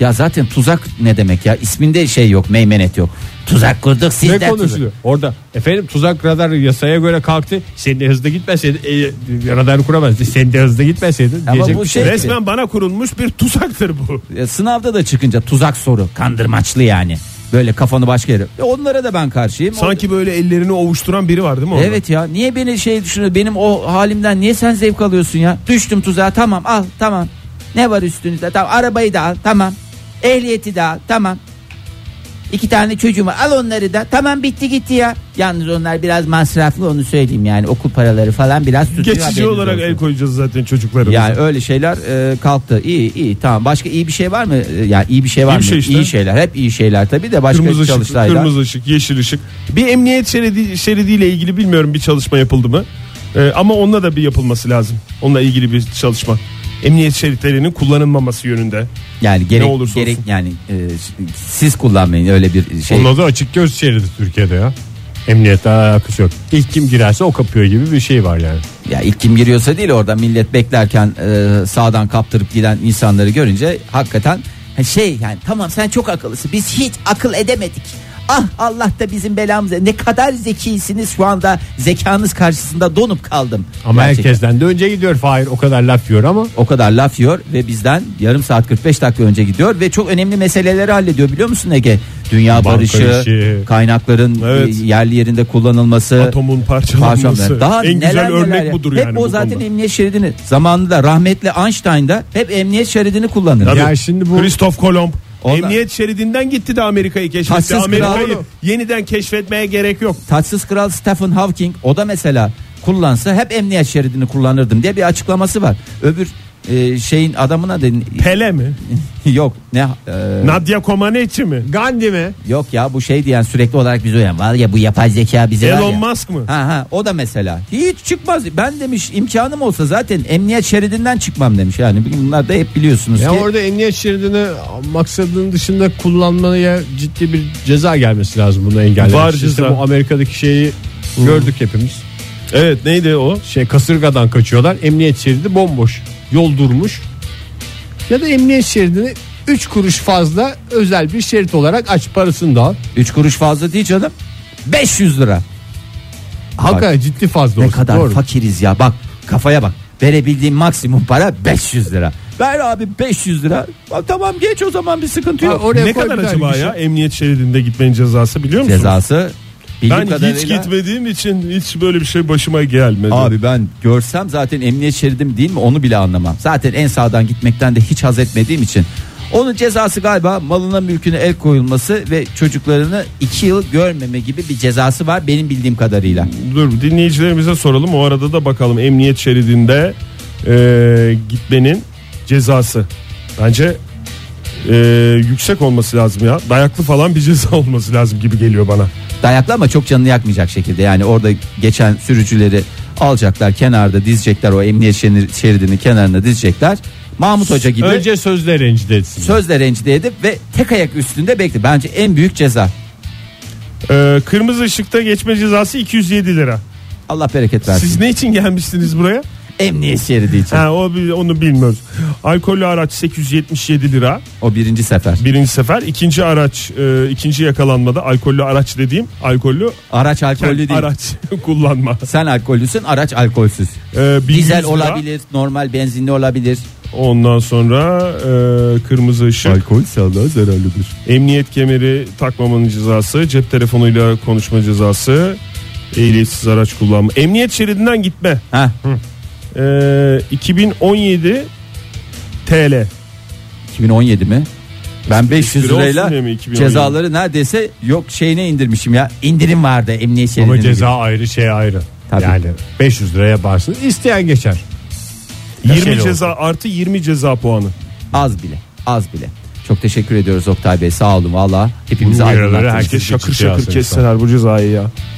[SPEAKER 5] ya zaten tuzak ne demek ya isminde şey yok meymenet yok tuzak kurduk siz
[SPEAKER 3] ne
[SPEAKER 5] de tuzak.
[SPEAKER 3] konuşuluyor? Orada efendim tuzak radar yasaya göre kalktı. Sen de hızlı gitmeseydin e, radar kuramazdı. Sen de hızlı gitmeseydin
[SPEAKER 5] Ama
[SPEAKER 3] diyecek
[SPEAKER 5] bu
[SPEAKER 3] bir
[SPEAKER 5] şey-
[SPEAKER 3] şey.
[SPEAKER 4] Resmen bana kurulmuş bir tuzaktır bu.
[SPEAKER 5] E, sınavda da çıkınca tuzak soru kandırmaçlı yani böyle kafanı başka yere E, onlara da ben karşıyım O-
[SPEAKER 4] Sanki böyle ellerini ovuşturan biri var değil mi orada?
[SPEAKER 5] Evet ya niye beni şey düşünüyor benim o halimden niye sen zevk alıyorsun ya düştüm tuzağa tamam al tamam ne var üstünüzde tamam arabayı da al tamam ehliyeti de al tamam İki tane çocuğum var al onları da tamam bitti gitti ya yalnız onlar biraz masraflı onu söyleyeyim yani okul paraları falan biraz tutuyor
[SPEAKER 4] Geçici
[SPEAKER 5] haberiniz
[SPEAKER 4] olarak
[SPEAKER 5] olsun.
[SPEAKER 4] el koyacağız zaten çocuklarımıza.
[SPEAKER 5] Yani öyle şeyler e, kalktı. İyi iyi tamam. Başka iyi bir şey var mı? E, Yani iyi bir şey var
[SPEAKER 4] İyi
[SPEAKER 5] mı?
[SPEAKER 4] bir şey işte.
[SPEAKER 5] İyi şeyler. Hep iyi şeyler tabii de başka
[SPEAKER 4] kırmızı ışık,
[SPEAKER 5] çalıştaylar.
[SPEAKER 4] kırmızı ışık, yeşil ışık. Bir emniyet şeridi, şeridiyle ilgili bilmiyorum bir çalışma yapıldı mı? Ee, ama onunla da bir yapılması lazım. Onunla ilgili bir çalışma. Emniyet şeritlerinin kullanılmaması yönünde.
[SPEAKER 5] Yani gerek
[SPEAKER 4] Ne olursa
[SPEAKER 5] gerek
[SPEAKER 4] olsun.
[SPEAKER 5] yani e, ş- siz kullanmayın öyle bir şey.
[SPEAKER 3] Onun adı açık göz şeridi Türkiye'de ya. Emniyetle alakası yok. İlk kim girerse o kapıyor gibi bir şey var yani.
[SPEAKER 5] Ya ilk kim giriyorsa değil orada millet beklerken e, sağdan kaptırıp giden insanları görünce hakikaten ha, şey yani tamam sen çok akıllısın. Biz hiç akıl edemedik. Ah Allah da bizim belamıza ne kadar zekisiniz şu anda zekanız karşısında donup kaldım.
[SPEAKER 3] Ama
[SPEAKER 5] Gerçekten.
[SPEAKER 3] herkesten de önce gidiyor Fahir o kadar laf yiyor ama
[SPEAKER 5] o kadar laf yiyor ve bizden yarım saat 45 dakika önce gidiyor ve çok önemli meseleleri hallediyor biliyor musun Ege? Dünya
[SPEAKER 3] Banka
[SPEAKER 5] barışı,
[SPEAKER 3] işi.
[SPEAKER 5] kaynakların
[SPEAKER 4] Evet.
[SPEAKER 5] e, yerli yerinde kullanılması,
[SPEAKER 4] Atomun parçalanması.
[SPEAKER 5] parçalanması. Daha
[SPEAKER 4] en
[SPEAKER 5] neler
[SPEAKER 4] güzel
[SPEAKER 5] neler
[SPEAKER 4] örnek
[SPEAKER 5] ya.
[SPEAKER 4] budur
[SPEAKER 5] hep
[SPEAKER 4] yani.
[SPEAKER 5] o
[SPEAKER 4] bu
[SPEAKER 5] zaten
[SPEAKER 4] konuda.
[SPEAKER 5] emniyet şeridini zamanında rahmetli Einstein'da hep emniyet şeridini kullanır.
[SPEAKER 4] Tabii.
[SPEAKER 3] Ya şimdi bu-
[SPEAKER 4] Christoph Kolomb
[SPEAKER 5] Onlar-
[SPEAKER 4] emniyet şeridinden gitti de Amerika'yı keşfetti.
[SPEAKER 5] Taçsız kral
[SPEAKER 4] Amerika'yı
[SPEAKER 5] oğlum.
[SPEAKER 4] yeniden keşfetmeye gerek yok.
[SPEAKER 5] Tatsız kral Stephen Hawking o da mesela kullansa hep emniyet şeridini kullanırdım diye bir açıklaması var. Öbür e, şeyin adamına dedin
[SPEAKER 4] Pele mi?
[SPEAKER 5] yok ne e,
[SPEAKER 4] Nadia Comaneci mi?
[SPEAKER 3] Gandhi mi?
[SPEAKER 5] Yok ya bu şey diyen sürekli olarak bize uyan. Var ya bu yapay zeka bize var
[SPEAKER 4] Elon
[SPEAKER 5] ya.
[SPEAKER 4] Musk mı?
[SPEAKER 5] Ha ha o da mesela. Hiç çıkmaz. Ben demiş imkanım olsa zaten emniyet şeridinden çıkmam demiş. Yani bunlar da hep biliyorsunuz
[SPEAKER 3] Ya
[SPEAKER 5] ki.
[SPEAKER 3] orada emniyet şeridini maksadının dışında kullanmaya ciddi bir ceza gelmesi lazım bunu engellemek.
[SPEAKER 4] Var
[SPEAKER 3] İşte
[SPEAKER 4] ceza.
[SPEAKER 3] bu Amerika'daki şeyi gördük hepimiz.
[SPEAKER 4] Evet neydi o?
[SPEAKER 3] Şey kasırgadan kaçıyorlar. Emniyet şeridi bomboş. Yol durmuş. Ya da emniyet şeridini 3 kuruş fazla özel bir şerit olarak aç parasını da al.
[SPEAKER 5] 3 kuruş fazla değil canım. 500 lira.
[SPEAKER 3] Hakikaten ciddi fazla
[SPEAKER 5] Ne
[SPEAKER 3] olsun.
[SPEAKER 5] kadar
[SPEAKER 3] Doğru.
[SPEAKER 5] fakiriz ya. Bak kafaya bak. Verebildiğim maksimum para 500 lira. Ver abi 500 lira. Bak, tamam geç o zaman bir sıkıntı
[SPEAKER 3] Ha,
[SPEAKER 5] yok.
[SPEAKER 3] oraya
[SPEAKER 4] ne
[SPEAKER 3] koy
[SPEAKER 4] kadar
[SPEAKER 3] bir tane
[SPEAKER 4] acaba
[SPEAKER 3] bir şey.
[SPEAKER 4] ya emniyet şeridinde gitmenin cezası biliyor musunuz?
[SPEAKER 5] Cezası bildiğim
[SPEAKER 4] Ben
[SPEAKER 5] kadarıyla-
[SPEAKER 4] hiç gitmediğim için hiç böyle bir şey başıma gelmedi.
[SPEAKER 5] Abi ben görsem zaten emniyet şeridim değil mi onu bile anlamam. Zaten en sağdan gitmekten de hiç haz etmediğim için. Onun cezası galiba malına mülküne el koyulması ve çocuklarını 2 yıl görmeme gibi bir cezası var benim bildiğim kadarıyla.
[SPEAKER 4] Dur dinleyicilerimize soralım. O arada da bakalım emniyet şeridinde e, gitmenin cezası. Bence e, yüksek olması lazım ya. Dayaklı falan bir ceza olması lazım gibi geliyor bana.
[SPEAKER 5] Dayaklı ama çok canını yakmayacak şekilde yani orada geçen sürücüleri alacaklar kenarda dizecekler o emniyet şenir- şeridinin kenarına dizecekler. Mahmut Hoca gibi
[SPEAKER 3] Önce sözle rencide etsin.
[SPEAKER 5] sözle rencide edip ve tek ayak üstünde bekle. Bence en büyük ceza.
[SPEAKER 4] E, kırmızı ışıkta geçme cezası 207 lira.
[SPEAKER 5] Allah bereket versin.
[SPEAKER 4] Siz ne için gelmiştiniz buraya?
[SPEAKER 5] Emniyet şeridi için.
[SPEAKER 4] Ha, o bi- onu bilmiyoruz. Alkollü araç 877 lira.
[SPEAKER 5] O birinci sefer.
[SPEAKER 4] Birinci sefer. ikinci araç e, ikinci yakalanmada alkollü araç dediğim alkollü
[SPEAKER 5] Araç alkollü değil.
[SPEAKER 4] araç kullanma.
[SPEAKER 5] Sen alkollüsün, araç alkolsüz.
[SPEAKER 4] E, 1100
[SPEAKER 5] Dizel
[SPEAKER 4] lira.
[SPEAKER 5] olabilir, normal benzinli olabilir.
[SPEAKER 4] Ondan sonra e, kırmızı ışık,
[SPEAKER 3] Alkol sağlığa zararlıdır.
[SPEAKER 4] emniyet kemeri takmamanın cezası, cep telefonuyla konuşma cezası, ehliyetsiz araç kullanma. Emniyet şeridinden gitme.
[SPEAKER 5] Ha,
[SPEAKER 4] E, 2017 TL.
[SPEAKER 5] 2017 mi? Ben 500
[SPEAKER 4] lira
[SPEAKER 5] lirayla
[SPEAKER 4] olsun diye mi 2017?
[SPEAKER 5] cezaları neredeyse yok şeyine indirmişim ya. İndirim vardı emniyet şeridine.
[SPEAKER 3] Ama ceza ayrı şey ayrı.
[SPEAKER 5] Tabii.
[SPEAKER 3] Yani 500 liraya barsın isteyen geçer.
[SPEAKER 4] 20
[SPEAKER 3] Şey oldu.
[SPEAKER 4] ceza artı 20 ceza puanı.
[SPEAKER 5] Az bile, az bile. Çok teşekkür ediyoruz Oktay Bey sağ olun valla. Hepimizi
[SPEAKER 3] Bu uyarıları
[SPEAKER 5] aydınlattınız.
[SPEAKER 3] herkes
[SPEAKER 4] Keşke şakır
[SPEAKER 3] Geçici ceza
[SPEAKER 4] şakır
[SPEAKER 3] insan.
[SPEAKER 4] kesseler bu cezayı ya.